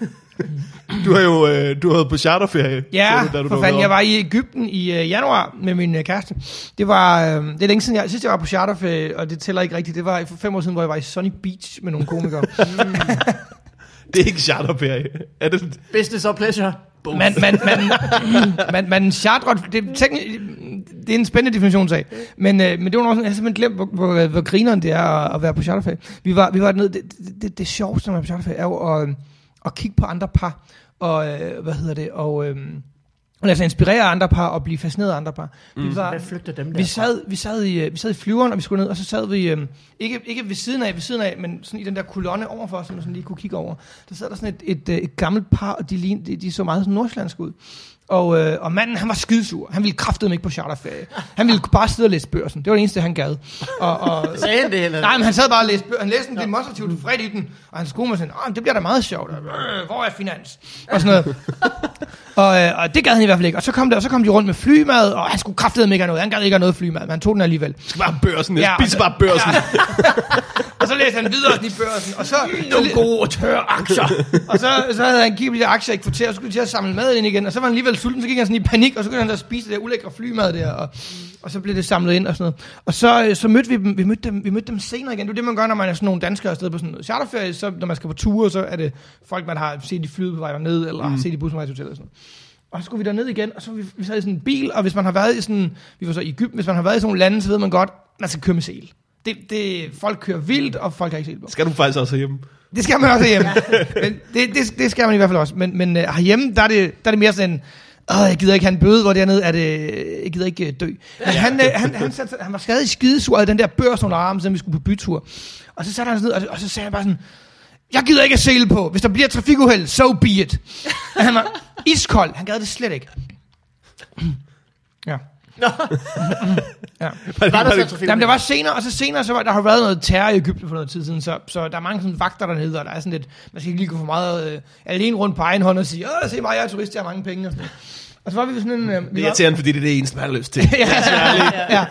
S1: Du har jo øh, du har været på charterferie.
S2: Ja,
S1: da du
S2: for
S1: dukkede
S2: fanden,
S1: op.
S2: jeg var i Ægypten i øh, januar med min øh, kæreste. Det var, øh, det er længe siden, jeg, sidst jeg var på charterferie, og det tæller ikke rigtigt. Det var for fem år siden, hvor jeg var i Sunny Beach med nogle komikere.
S1: Det er ikke charterferie. Er det,
S3: Business og pleasure.
S2: man, man, man, man, man chartrer, det, er tekni- det er en spændende definition sag, men, øh, men det var nok sådan, jeg har simpelthen glemt, hvor, hvor, øh, hvor grineren det er at, at være på charterferie. Vi var, vi var dernede, det, det, det, det sjoveste, når man er på charterferie, er jo at, øh, at kigge på andre par, og øh, hvad hedder det, og... Øh, altså inspirere andre par og blive fascineret af andre par. Vi var,
S3: Hvad flygter dem der?
S2: vi sad, vi, sad i, øh, vi sad i flyveren, og vi skulle ned, og så sad vi, øh, ikke, ikke ved siden af, ved siden af, men sådan i den der kolonne overfor, som man sådan lige kunne kigge over. Der sad der sådan et, et, øh, et gammelt par, og de, lignede, de, de så meget sådan nordsjællandsk ud. Og, øh, og manden, han var skidesur. Han ville kraftedeme ikke på charterferie. Han ville bare sidde og læse børsen. Det var det eneste, han gad. Og, og,
S3: Sagde han det, eller?
S2: Nej, men han sad bare og læste, bøger. han læste den demonstrativt fred i den, og hans kone var sådan, "Åh, det bliver da meget sjovt, og, øh, hvor er finans? Og sådan (laughs) noget. og, øh, og, det gad han i hvert fald ikke. Og så kom, det, og så kom de rundt med flymad, og han skulle kraftedeme ikke have noget. Han gad ikke have noget flymad, men han tog den alligevel.
S1: skal bare børsen. Jeg
S2: Ja,
S1: spiser
S2: og-
S1: bare børsen.
S2: (laughs) Og så læste han videre sådan i børsen, og så... Nogle gode og tørre aktier. (laughs) og så, så havde han kigget på de der aktier i et kvarter, og så skulle de til at samle mad ind igen, og så var han alligevel sulten, så gik han sådan i panik, og så kunne han da spise det der ulækre flymad der, og, og så blev det samlet ind og sådan noget. Og så, øh, så mødte vi dem, vi mødte dem, vi mødte dem senere igen. Det er det, man gør, når man er sådan nogle danskere afsted på sådan noget charterferie, så når man skal på ture, så er det folk, man har set i flyet på vej derned, eller mm. har set i bussen på vej til hotellet og sådan noget. Og så skulle vi derned igen, og så var vi, vi sad i sådan en bil, og hvis man har været i sådan, vi var så i Egypten, hvis man har været i sådan nogle lande, så ved man godt, man skal køre med sel. Det, det, folk kører vildt, og folk har ikke sel på.
S1: (laughs) Skal du faktisk også hjem?
S2: Det skal man også hjemme. men det, det, det, skal man i hvert fald også. Men, men uh, herhjemme, der er, det, der er det mere sådan en, Åh, jeg gider ikke have en bøde, hvor dernede er det, jeg gider ikke øh, dø. Men han, øh, han, han, han, han var stadig skidesur af den der børs under armen, siden vi skulle på bytur. Og så satte han sig ned, og, og så sagde han bare sådan, jeg gider ikke at sele på. Hvis der bliver trafikuheld, so be it. Og han var iskold. Han gad det slet ikke. (clears throat) ja. ja.
S3: Var der så
S2: Jamen, der var senere, og så senere, så var, der har været noget terror i Ægypten for noget tid siden, så, så der er mange sådan vagter dernede, og der er sådan lidt, man skal ikke lige gå for meget øh, alene rundt på egen hånd og sige, åh, se mig, jeg er turist, jeg har mange penge og sådan noget. Og så var vi ved sådan en... Øh,
S1: Det
S2: vi
S1: er
S2: var,
S1: irriterende, fordi det er det eneste, man har
S2: (laughs)
S1: lyst til.
S2: ja,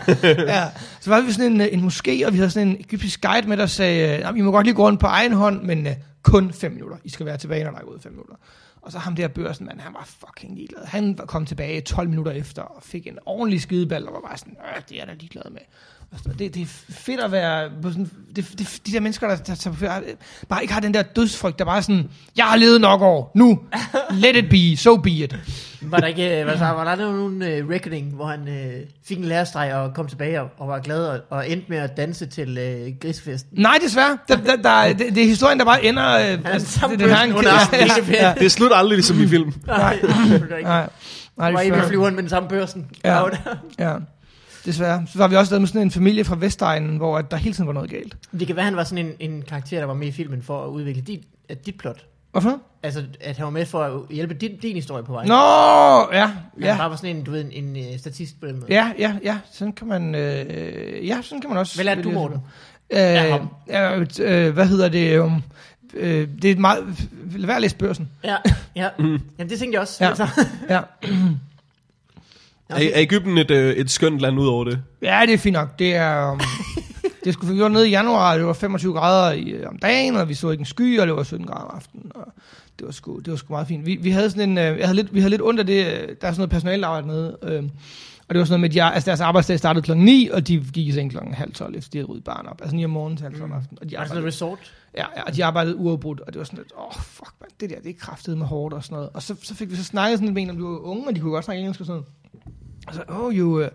S2: ja. Så var vi ved sådan en, øh, en moské, og vi havde sådan en egyptisk guide med, der sagde, øh, "Nå, I må godt lige gå rundt på egen hånd, men øh, kun fem minutter. I skal være tilbage, når der er gået fem minutter. Og så ham der børsen, mand, han var fucking ligeglad. Han var- kom tilbage 12 minutter efter og fik en ordentlig skideball, og var bare sådan, øh, det er jeg da ligeglad med. Og sådan, Det, det er fedt at være på sådan, det, det, de der mennesker, der, der, tager på ferie, bare ikke har den der dødsfrygt, der bare er sådan, jeg har levet nok år, nu, let it be, so be it.
S3: Var der ikke, øh, var, der, var der aldrig nogen uh, reckoning, hvor han uh, fik en lærestreg og kom tilbage og, og var glad og, og endte med at danse til uh, grisfesten?
S2: Nej, desværre. Der, der, der, det, det er historien, der bare ender... Øh, altså,
S3: samme
S2: det- det har
S3: bøsse
S2: en-
S3: under armen, det er ikke
S2: ja, ja,
S1: Det slutter aldrig ligesom i film.
S3: Nej, det var ikke.
S2: Nej, nej,
S3: Han var
S2: det
S3: en
S2: er
S3: med
S2: svært.
S3: flyveren med den samme børsen.
S2: Ja.
S3: Og der-
S2: Ja, desværre. Så var vi også lavet med sådan en familie fra Vestegnen, hvor at der hele tiden var noget galt.
S3: Det kan være, han var sådan en, en karakter, der var med i filmen for at udvikle dit, at dit plot.
S2: Hvorfor?
S3: Altså, at han var med for at hjælpe din, din historie på vej.
S2: Nå, ja,
S3: Han
S2: ja.
S3: bare var sådan en, du ved, en, en øh, statist på den måde.
S2: Ja, ja, ja, sådan kan man, øh, ja, sådan kan man også.
S3: Hvad lærte du, Morten?
S2: Øh, ja, øh, hvad hedder det? Um, øh, det er et meget, lad være at læse børsen.
S3: Ja, ja. Jamen, det tænkte jeg også.
S2: Ja.
S3: Altså, (laughs)
S2: Ja.
S1: Er, er Ægypten et, øh, et skønt land ud over det?
S2: Ja, det er fint nok. Det er... Um, det skulle vi gjorde nede i januar, og det var 25 grader i, øh, om dagen, og vi så ikke en sky, og det var 17 grader om aftenen, og det var sgu, det var sgu meget fint. Vi, vi havde sådan en, øh, jeg havde lidt, vi havde lidt ondt af det, øh, der er sådan noget personale, der nede, øh, og det var sådan noget med, at jeg, altså deres arbejdsdag startede klokken 9, og de gik i seng klokken halv 12, efter de havde ryddet barn op. Altså 9 om morgenen til halv 12 om aftenen. Og de
S3: var det sådan
S2: arbejdede,
S3: noget resort?
S2: ja, ja, og de arbejdede uafbrudt, og det var sådan lidt, åh, oh, fuck, man, det der, det er kraftet med hårdt og sådan noget. Og så, så fik vi så snakket sådan lidt med en, om de var unge, og de kunne godt snakke engelsk og sådan noget. Og så, oh, you, uh,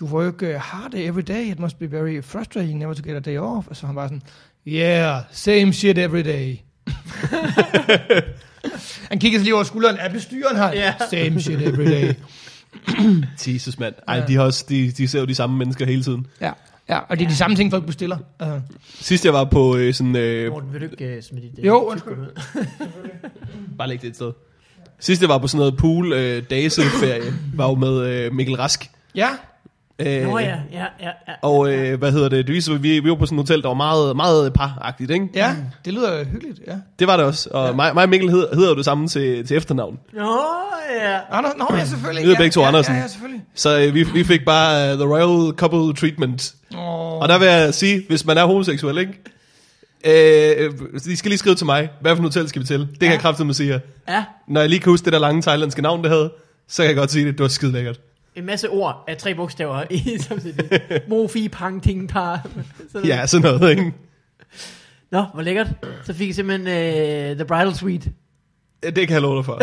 S2: you work uh, hard every day. It must be very frustrating never to get a day off. Og så var han bare sådan, yeah, same shit every (laughs) day. han kiggede sig lige over skulderen. Er bestyren her?
S3: Ja.
S2: Same shit every day.
S1: Jesus, mand. Ej, de, har også, de, de ser jo de samme mennesker hele tiden.
S2: ja. Ja, og det er de samme ting, folk bestiller. Uh,
S1: Sidst jeg var på øh, sådan... Øh,
S3: Morten, vil du ikke uh, smide dit... øh,
S2: Jo,
S3: tidspunkt ud?
S1: bare læg det et sted. Sidst jeg var på sådan noget pool øh, dageselferie, var jo med øh, Mikkel Rask.
S2: ja,
S1: Øh,
S3: Nå ja, ja, ja, ja.
S1: Og øh, hvad hedder det? Det viser, vi, vi var på sådan et hotel, der var meget, meget paragtigt, ikke?
S2: ja, det lyder hyggeligt, ja.
S1: Det var det også. Og ja. mig, mig og Mikkel hed, hedder jo det samme til, til efternavn.
S3: Nå ja.
S2: Anders, nå, ja, selvfølgelig.
S1: Vi hedder
S2: ja,
S1: begge to
S2: ja,
S1: Andersen.
S2: Ja, ja, selvfølgelig.
S1: Så øh, vi, vi fik bare uh, The Royal Couple Treatment.
S2: Oh,
S1: Og der vil jeg sige, hvis man er homoseksuel, ikke? Øh, de skal lige skrive til mig, hvad for en hotel skal vi til? Det kan ja. jeg kraftigt med sige her.
S3: Ja,
S1: Når jeg lige kan huske det der lange thailandske navn, det havde, så kan jeg godt sige det. Det var skide lækkert.
S3: en masse ord af tre bogstaver i (laughs) samtidig. Mofi, pang, ting, par. Sådan.
S1: Ja, sådan noget, ikke?
S3: Nå, hvor lækkert. Så fik jeg simpelthen uh, The Bridal Suite.
S1: Det kan jeg love dig for.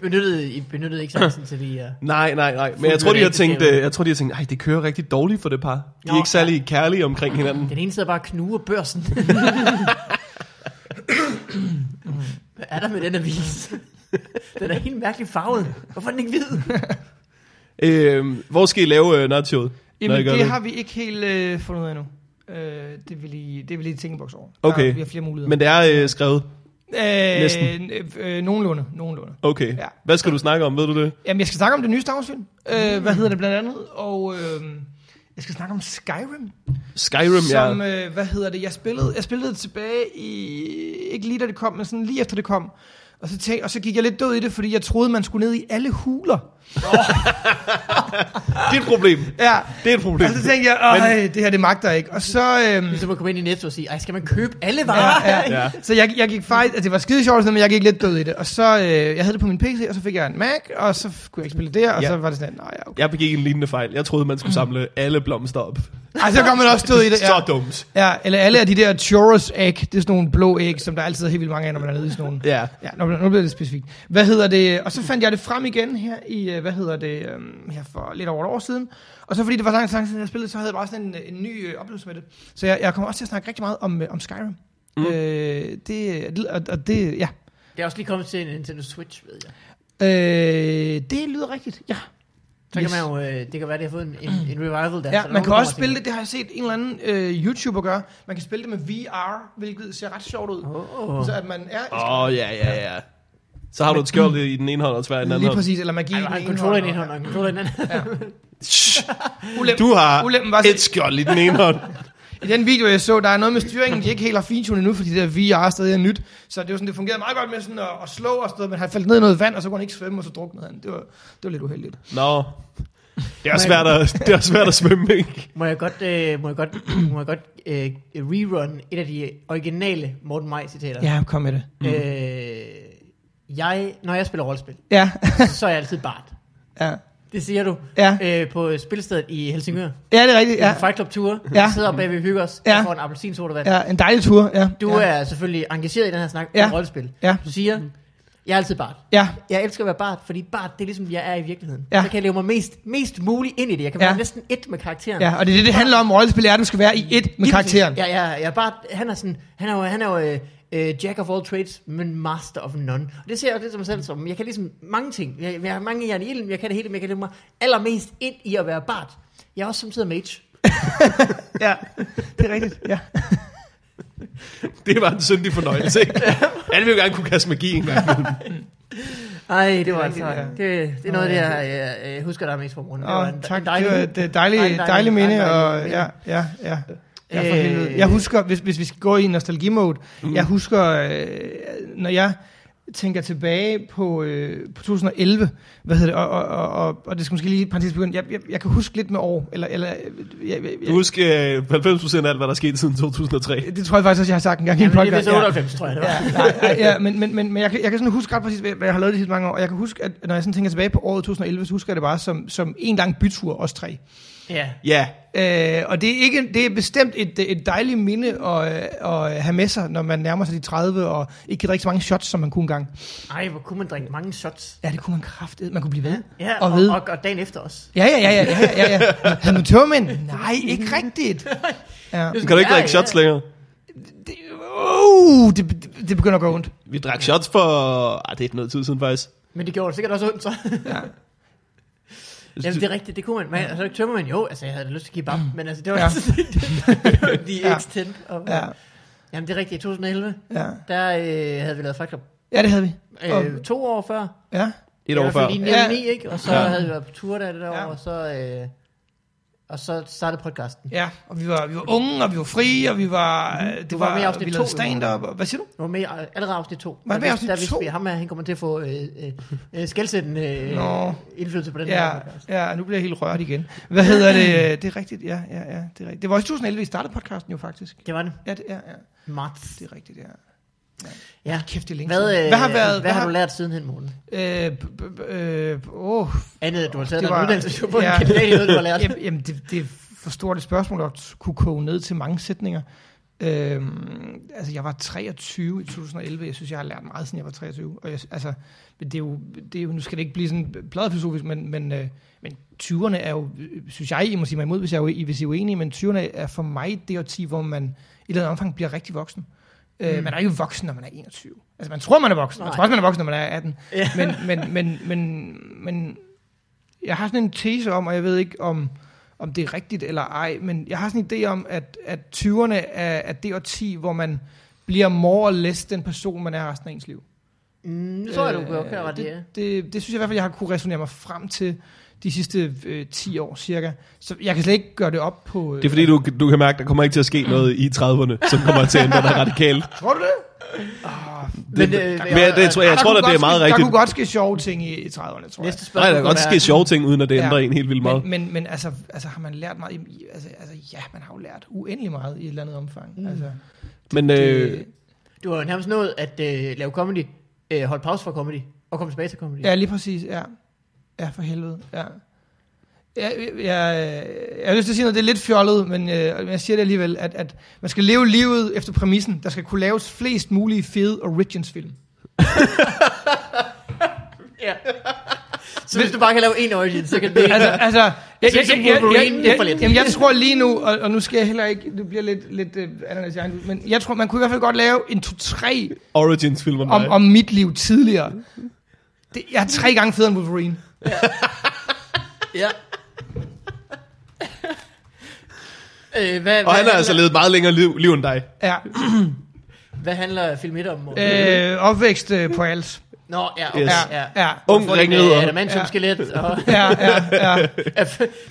S3: Benyttede, I benyttede ikke chancen til lige... Uh...
S1: Nej, nej, nej. Men jeg tror, de har tænkt, øh, jeg tror, de har tænkt, nej, det kører rigtig dårligt for det par. De er
S3: Nå,
S1: ikke særlig kærlige omkring hinanden.
S3: Den ene sidder bare og knuger børsen. Hvad er der med den avis? den er helt mærkeligt farvet. Hvorfor er den ikke hvid?
S1: Øh, hvor skal I lave øh, nachoet? når I
S2: Jamen,
S1: gør
S2: det, har vi ikke helt øh, fundet ud af endnu. Øh, det vil lige, det vil lige tænke en boks over.
S1: Okay.
S2: Der, vi har flere muligheder.
S1: Men det er øh, skrevet. næsten.
S2: øh, øh, nogenlunde, nogenlunde.
S1: Okay.
S2: Ja.
S1: Hvad skal du snakke om, ved du det?
S2: Jamen, jeg skal snakke om det nye Star Wars-film.
S1: Mm.
S2: Øh, hvad hedder det blandt andet? Og øh, jeg skal snakke om Skyrim.
S1: Skyrim,
S2: som,
S1: ja.
S2: øh, hvad hedder det, jeg spillede, jeg spillede det tilbage i, ikke lige da det kom, men sådan lige efter det kom. Og så, tænkte, og så gik jeg lidt død i det, fordi jeg troede, man skulle ned i alle huler.
S1: Det er et problem. (laughs)
S2: Ja,
S1: Det er et problem.
S2: og så tænkte jeg, Øj, Altså, det her det magter jeg ikke. Og så, øhm,
S3: Så man komme ind i Netto og sige, ej, skal man købe alle varer?
S2: ja, Ah, ja.
S1: Ja.
S2: så jeg, jeg gik faktisk, altså det var skide sjovt, og sådan noget, men jeg gik lidt død i det. Og så, øh, jeg havde det på min PC, og så fik jeg en Mac, og så f- kunne jeg ikke spille det der, og
S1: Ja.
S2: så var det sådan, nej, ja, okay.
S1: Jeg begik en lignende fejl. Jeg troede, man skulle samle alle blomster op.
S2: Ej, så kom man også død i det.
S1: Så dumt.
S2: Ja, ja eller alle af de der churros æg, det er sådan nogle blå æg, som der altid er helt vildt mange af, når man er nede i sådan nogle.
S1: Ja.
S2: Ja, nu, bliver- nu bliver det specifikt. Hvad hedder det? Og så fandt jeg det frem igen her i, øh, hvad hedder det, øhm, her for lidt over et år siden. Og så fordi det var så lang tid siden, jeg spillede, så havde jeg bare sådan en, øh, en ny øh, oplevelse med det. Så jeg, jeg kommer også til at snakke rigtig meget om, øh, om Skyrim. Mm. Øh, det, og, og det, ja.
S3: Det er også lige kommet til en Nintendo Switch, ved jeg.
S2: Øh, det lyder rigtigt, ja.
S3: Så yes.
S2: Yes.
S3: kan man jo, øh, det kan være, det har fået en, en, en revival
S2: Ja,
S3: der. så der
S2: man
S3: er nogen,
S2: kan
S3: der
S2: også
S3: kommer
S2: spille det, det har jeg set en eller anden øh, YouTuber gøre. Man kan spille det med VR, hvilket ser ret sjovt ud.
S3: og tænker, Åh, oh.
S2: Så at man er i
S1: Åh, oh, ja, ja, ja. Så har du et skjold i den ene hånd og et svær i den anden
S2: Lige
S1: hånd.
S2: præcis, eller magi.
S3: Ej, der
S2: den
S3: har en
S2: ene
S3: controller i den
S2: hånd,
S3: ene hånd og en controller i den anden.
S1: Shh,
S2: og- Ulem,
S1: Du har
S2: Ulempen var
S1: et skjold i den ene
S2: (laughs)
S1: hånd.
S2: I den video, jeg så, der er noget med styringen, de ikke helt har fintunet endnu, fordi det der VR stadig er nyt. Så det, var sådan, det fungerede meget godt med sådan at, at slå og sådan noget, men han faldt ned i noget vand, og så kunne han ikke svømme, og så druknede han. Det var, det var lidt uheldigt.
S1: Nå. Det er også svært at, det er også svært at svømme, ikke?
S3: Må jeg godt, øh, må jeg godt, (clears throat) må jeg godt øh, rerun et af de originale Morten Maj citater?
S2: Ja, kom med det.
S3: Øh, jeg, når jeg spiller
S2: (laughs)
S3: rollespil,
S2: Ja,
S3: så er jeg altid bart.
S2: ja.
S3: Det siger du
S2: Ja.
S3: øh, på spilstedet i Helsingør.
S2: ja det er rigtigt. Ja.
S3: Ja. Fight Club Tour.
S2: Ja.
S3: Ja. Vi sidder bag ved hygger os
S2: Ja.
S3: ja. og får en appelsinsodavand. Ja.
S2: ja, en dejlig tur. Ja.
S3: Du
S2: ja.
S3: er selvfølgelig engageret i den her snak
S2: Ja.
S3: om rollespil.
S2: Ja.
S3: Du siger, jeg er altid bart.
S2: Ja,
S3: Jeg elsker at være bart, fordi bart, det er ligesom, jeg er i virkeligheden.
S2: Ja.
S3: Ja. Så kan jeg leve mig mest, mest muligt ind i det. Jeg kan
S2: Ja.
S3: være næsten et med karakteren.
S2: ja, og det er det, det handler om. Rollespil er, at du skal være i ét med
S3: Lige
S2: karakteren.
S3: præcis. Ja, ja, ja, bare, han er sådan, han er jo, han er jo øh, øh, jack of all trades, men master of none. Og det ser jeg også lidt som mig selv som, jeg kan ligesom mange ting, jeg, jeg har mange jern i ilden, jeg kan det hele, men jeg kan leve mig allermest ind i at være bart. Jeg er også samtidig mage.
S2: Ja, det er rigtigt. Ja.
S1: Det var en syndig fornøjelse,
S2: (laughs)
S1: ikke? Alle vil jo gerne kunne kaste magi en gang.
S3: Ej, det var
S2: rigtigt,
S3: altså,
S2: ja.
S3: det, det er noget, det jeg, jeg, jeg husker dig mest fra morgenen.
S2: Åh,
S3: en-
S2: tak.
S3: en
S2: det var det er dejlige,
S3: dejlig-
S2: dejlige, dejlige minde.
S3: dejlig- dejlig
S2: og,
S3: minde.
S2: ja, ja, ja. Ja, for
S3: Øh.
S2: helvede. Jeg husker, hvis, hvis vi skal gå i nostalgi-mode, mm. jeg husker, øh, når jeg tænker tilbage på, øh, på 2011, hvad hedder det, og, og, og, og, og det skal måske lige et par begynde, jeg, jeg, jeg kan huske lidt med år, eller, eller øh, jeg, jeg,
S1: Du
S2: jeg,
S1: husker øh, 90% af alt, hvad der er sket siden 2003.
S2: det tror jeg faktisk også, jeg har sagt en gang i en
S3: Jamen, det er
S2: podcast.
S3: vist 98, tror jeg, det var. (laughs)
S2: Ja, nej, nej, ja, men, men, men, men jeg, kan, jeg kan sådan huske ret præcis, hvad hvad jeg har lavet de sidste mange år, og jeg kan huske, at når jeg sådan tænker tilbage på året 2011, så husker jeg det bare som, som en lang bytur, os tre.
S3: Ja.
S1: Ja,
S2: Øh, og det er, ikke, det er bestemt et, et dejligt minde at, øh, at have med sig, når man nærmer sig de 30, og ikke kan drikke så mange shots, som man kunne engang.
S3: Ej, hvor kunne man drikke mange shots.
S2: Ja, det kunne man kraftedt. Man kunne blive ved.
S3: Ja,
S2: og,
S3: og,
S2: ved.
S3: og, og dagen efter også.
S2: Ja, ja, ja, ja, ja, ja, ja. Havde man tørmænd? Nej, ikke rigtigt.
S1: kan
S2: Ja.
S1: du ikke
S3: Ja,
S1: drikke
S3: ja.
S1: shots længere?
S2: Det, uh, det, det, det begynder at gå ondt.
S1: Vi drak shots for... Ah, det er noget tid siden faktisk.
S3: Men det gjorde det sikkert også ondt, så.
S2: Ja.
S3: Jamen, det er rigtigt, det kunne man. Men altså, tømmer man jo, altså jeg havde da lyst til kebab, men altså det var
S2: Mm. Ja.
S3: ja.
S2: (laughs)
S3: altså det, de
S2: Ja.
S3: ja. extent. Og,
S2: Ja,
S3: ja. Jamen det er rigtigt, i 2011,
S2: ja.
S3: der øh, havde vi lavet Fight Club
S2: ja, det havde vi. Og-
S3: øh, to år før.
S2: Ja.
S1: Et år før.
S3: I
S2: Ja.
S3: 99, ikke? Og så
S1: Ja.
S3: ja. havde vi været på tur der det der
S2: Ja.
S3: år, og så, øh, og så startede podcasten.
S2: Ja, og vi var, vi var unge, og vi var frie, og vi var... øh, Det
S3: Mhm. Du var med i afsnit
S2: vi lavede
S3: to, jo.
S2: stand-up, og hvad siger du?
S3: Nu var med i allerede afsnit 2.
S2: Var det med i afsnit
S3: der vidste
S2: to?
S3: vi, at ham her, han kommer til at få øh, øh, øh, skældsættende øh,
S2: Nå.
S3: indflydelse på den
S2: Ja,
S3: her podcast.
S2: ja, nu bliver jeg helt rørt igen. Hvad hedder det? Det er rigtigt, ja, ja, ja. Det, er rigtigt. det var også 2011, vi startede podcasten jo faktisk.
S3: Det var det.
S2: Ja, det, ja, ja.
S3: Marts.
S2: Det er rigtigt, ja.
S3: Ja.
S2: Kæft, det er længe
S3: Hvad, øh,
S2: siden. Hvad har været...
S3: hvad har du lært siden hen, Morten?
S2: Øh, b- b- øh, b- åh,
S3: Andet, at du har taget
S2: Det
S3: dig en
S2: var-
S3: uddannelse, du har fået
S2: ja.
S3: en kandidat i noget, du har
S2: (laughs)
S3: lært.
S2: jamen, jamen det, det er for stort et spørgsmål at kunne koge ned til mange sætninger. Øhm, altså, jeg var 23 i 2011. Jeg synes, jeg har lært meget, siden jeg var 23. Og jeg, altså, men det er jo, det er jo, nu skal det ikke blive sådan pladefilosofisk, men, men, øh, men 20'erne er jo, øh, synes jeg, I må sige mig imod, hvis jeg er, ue- I- hvis I er uenige, men 20'erne er for mig det årti, hvor man i et eller andet omfang bliver rigtig voksen. Øh, man er ikke voksen, når man er 21. Altså, man tror, man er voksen. Man
S3: Mm. Nej.
S2: tror også, man er voksen, når man er 18.
S3: Ja.
S2: Men, men, men, men, men jeg har sådan en tese om, og jeg ved ikke, om, om det er rigtigt eller ej, men jeg har sådan en idé om, at, at 20'erne er, er det årti, hvor man bliver more or less den person, man er resten af ens liv.
S3: Mm, så er du godt klar, det, er.
S2: Øh, det, det, det synes jeg i hvert fald, jeg har kunne resonere mig frem til de sidste øh, 10 år cirka. Så jeg kan slet ikke gøre det op på... Øh,
S1: Det er fordi, du, du kan mærke, der kommer ikke til at ske noget i 30'erne, som kommer til at ændre dig radikalt.
S2: Tror du det?
S3: Men, øh,
S1: Men Ah, jeg, det, tror, jeg, jeg
S2: Der
S1: tror
S2: kunne
S1: da,
S2: godt
S1: det er meget
S2: ske, Der
S1: rigtigt.
S2: kunne godt ske sjove ting i, i 30'erne, tror jeg.
S3: Næste
S1: Nej,
S3: spørgsmål
S1: der kan godt ske sjove ting, uden at det ændrer en helt vildt meget.
S2: Men, men, men altså, altså, har man lært meget? Jamen, i- Altså, altså, ja, man har jo lært uendelig meget i et eller andet omfang. Mm. Altså,
S1: Men øh,
S2: det,
S3: Du har jo nærmest nået at øh, lave comedy, øh, holde pause for comedy, og komme tilbage til comedy.
S2: ja, lige præcis, ja. Ja, for helvede, ja. Jeg, jeg, jeg, jeg har lyst til at sige noget, det er lidt fjollet, men øh, men jeg siger det alligevel, at, at man skal leve livet efter præmissen. Der skal kunne laves flest mulige fede origins-film.
S3: (laughs) ja. Så hvis du bare kan lave en origin, så kan det
S2: altså, altså, jeg, jeg,
S3: synes,
S2: jeg,
S3: at
S2: jeg,
S3: Wolverine
S2: jeg,
S3: er
S2: jeg,
S3: for lidt.
S2: jamen, jeg tror lige nu, og, og nu skal jeg heller ikke, det bliver lidt, lidt øh, ananas i egen hud, men jeg tror, man kunne i hvert fald godt lave en 2-3
S1: Origins-film om
S2: om,
S1: dig.
S2: om mit liv tidligere. Det, jeg er tre gange federe end Wolverine.
S3: ja. øh, hvad,
S1: Og
S3: hvad,
S1: han har altså
S3: handler,
S1: levet meget længere liv, liv end dig.
S2: Ja.
S3: hvad handler film 1 om? Morten?
S2: Øh, opvækst øh, på alt.
S3: Nå, ja, okay,
S1: Yes.
S3: ja. ja.
S2: Ja.
S1: Ung
S3: Får dit,
S1: ringrider.
S3: øh, Adamantium-skelet, (laughs) og
S2: Ja, ja, ja,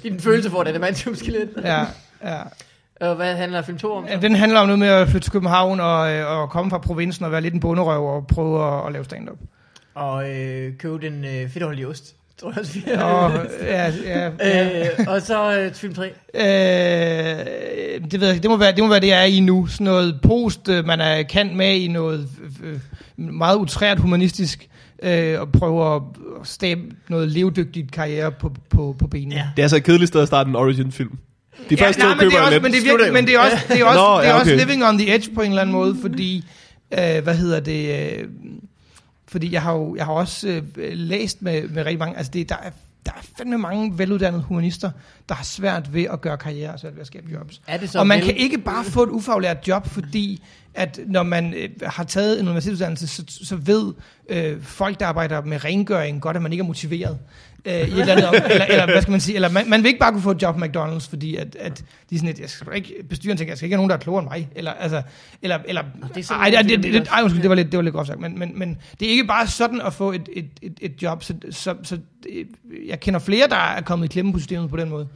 S3: din følelse for et adamantium-skelet.
S2: ja, ja.
S3: Og hvad handler film 2 om?
S2: Ja, Den handler om noget med at flytte til København og, øh, og komme fra provinsen og være lidt en bunderøv og prøve at, at lave stand-up.
S3: Og øh, købe den øh, fedtholdige ost, tror jeg også, vi har.
S2: Og, ja, ja, ja.
S3: (laughs) øh, og så øh, film 3.
S2: Øh, det ved jeg ikke. det må være det, må være, det jeg er i nu. Sådan noget post, øh, man er kendt med i noget øh, øh, meget utrært humanistisk, øh, og prøver at stabe noget levedygtigt karriere på, på, på benene.
S3: Ja.
S1: Det er altså et kedeligt sted at starte en origin-film. De første
S2: nej,
S1: to
S2: men det
S1: køber
S2: er
S1: jeg
S2: også,
S1: lidt.
S2: men det er virkelig, men det er også, det er også,
S1: Nå,
S2: det er
S1: ja,
S2: også
S1: okay.
S2: living on the edge på en eller anden måde, fordi, øh, hvad hedder det, øh, fordi jeg har jo jeg har også øh, læst med, med rigtig mange, altså det, der, er, der er fandme mange veluddannede humanister, der har svært ved at gøre karriere og svært ved at skabe jobs.
S3: Er det så
S2: Og man
S3: vel-
S2: kan ikke bare få et ufaglært job, fordi at når man øh, har taget en universitetsuddannelse, så, så ved øh, folk, der arbejder med rengøring, godt, at man ikke er motiveret. Øh, i et eller, andet, om- eller, eller, hvad skal man sige? Eller man, man vil ikke bare kunne få et job på McDonald's, fordi at, at de er sådan et, jeg skal ikke, bestyren tænker, jeg skal ikke have nogen, der er klogere end mig. Eller, altså, eller, eller,
S3: det er sådan,
S2: ej, det,
S3: det er
S2: det, det,
S3: også.
S2: det, ej, undskyld, det var lidt, det var lidt groft sagt, men, men, men det er ikke bare sådan at få et, et, et, et job, så, så, så øh, jeg kender flere, der er kommet i klemme på systemet på den måde.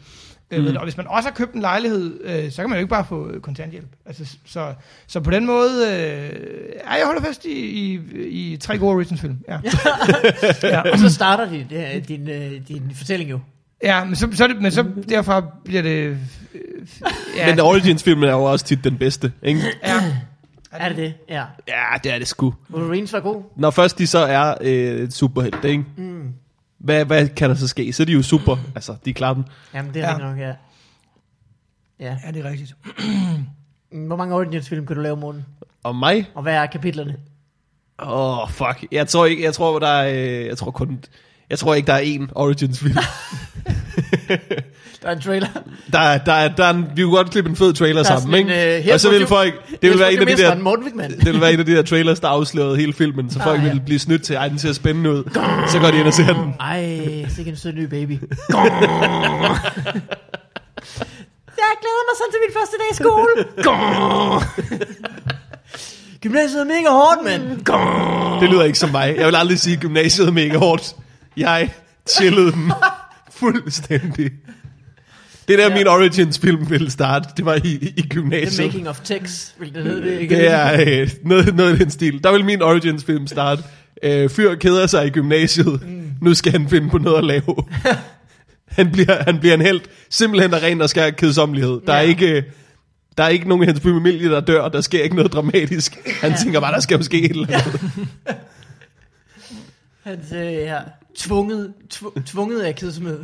S2: Mm. Ved, du, og hvis man også har købt en lejlighed, øh, så kan man jo ikke bare få øh, kontanthjælp. Altså, så, så på den måde, øh, ja, jeg holder fast i, i, i tre gode Origins-film. Ja. (laughs) ja.
S3: Og så starter din, øh, din, øh, din fortælling jo.
S2: ja, men så, så, er det, men så derfra bliver det... Øh, ja,
S1: Men origins-filmen er jo også tit den bedste, ikke?
S2: ja,
S3: Er det det? Ja.
S1: Ja, det er det sgu.
S3: Wolverines var god.
S1: Når først de så er øh, superhelte, ikke?
S3: Mm.
S1: Hvad, hvad kan der så ske? Så er de jo super. Altså, de klarer den.
S3: Jamen, det er
S2: Ja.
S3: ja. rigtig nok, ja. Ja.
S2: ja, det er rigtigt.
S3: Hvor mange Origins-film kan du lave, Morten?
S1: Og mig?
S3: Og hvad er kapitlerne?
S1: Åh, oh, fuck. Jeg tror ikke, jeg tror,
S3: (laughs)
S1: der er, øh, jeg tror kun, jeg tror ikke, der er én Origins-film.
S3: Der Der er en trailer.
S1: Der, er- der, er- der er en, vi kunne godt klippe en fed trailer
S3: Der er
S1: sammen,
S3: sådan en,
S1: ikke?
S3: øh, her
S1: og så
S3: på
S1: ville
S3: film-
S1: folk... Det
S3: Jeg
S1: ville
S3: tror,
S1: være en af
S3: det
S1: de
S3: mister
S1: der...
S3: en Morten Wigman.
S1: Det ville være en af de der trailers, der afslørede hele filmen, så folk
S3: Ah,
S1: ah,
S3: ja.
S1: ja. ville blive snydt til, ej, den ser spændende
S3: (laughs)
S1: ud. Så går de ind og ser den.
S3: Ej, sikke en sød ny baby. (laughs) jeg glæder mig sådan til min første dag i skole. Gymnasiet er mega hårdt, mand.
S1: Det lyder ikke som mig. Jeg vil aldrig sige, at gymnasiet er mega hårdt. Jeg chillede den fuldstændig. Det er der,
S3: Ja.
S1: ja. min Origins-film ville starte. Det var i, i
S3: The
S1: gymnasiet.
S3: making of Tex, vil det hedde det ikke?
S1: Det er øh, noget, noget af den stil. Der vil min Origins-film starte. Øh, fyr keder sig i gymnasiet. Mm. Nu skal han finde på noget at
S3: (laughs)
S1: lave. han, bliver, han bliver en held. Simpelthen er ren og skær kedsommelighed. Der, er
S3: Ja.
S1: ikke, øh, der er ikke nogen i hans familie, der dør. Der sker ikke noget dramatisk. Han tænker bare, der skal jo ske et eller andet.
S3: Han øh, ja, tvunget, tv- tvunget af kedsomhed.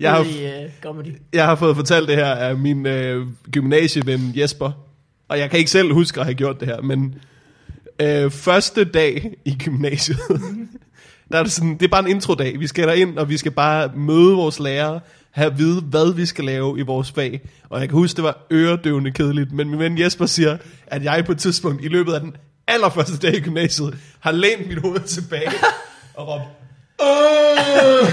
S1: Jeg har,
S3: I, øh, comedy.
S1: jeg har fået fortalt det her af min øh, gymnasieven Jesper. Og jeg kan ikke selv huske at have gjort det her, men øh, første dag i gymnasiet, (laughs) der er det sådan, det er bare en introdag. Vi skal ind og vi skal bare møde vores lærere, have at vide, hvad vi skal lave i vores fag. Og jeg kan huske, det var øredøvende kedeligt, men min ven Jesper siger, at jeg på et tidspunkt i løbet af den allerførste dag i gymnasiet, har lænt mit hoved tilbage og råbt, "Åh!"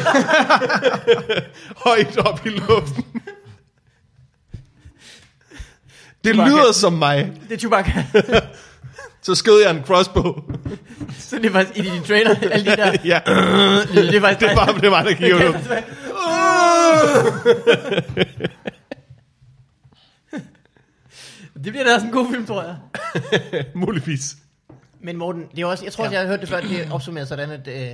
S1: (laughs) højt op i luften. Det
S3: Chewbacca.
S1: lyder som mig.
S3: Det er Chewbacca. (laughs)
S1: Så skød jeg en crossbow. (laughs)
S3: Så det er faktisk i din trailer, alle de der...
S1: ja,
S3: Det er faktisk
S1: det
S3: (laughs)
S1: var, det var der gik ud.
S3: Det bliver da også en god film, tror jeg.
S1: Muligvis.
S3: Men Morten, det er også, jeg tror, ja. jeg har hørt det før, det opsummerer sådan, at, øh,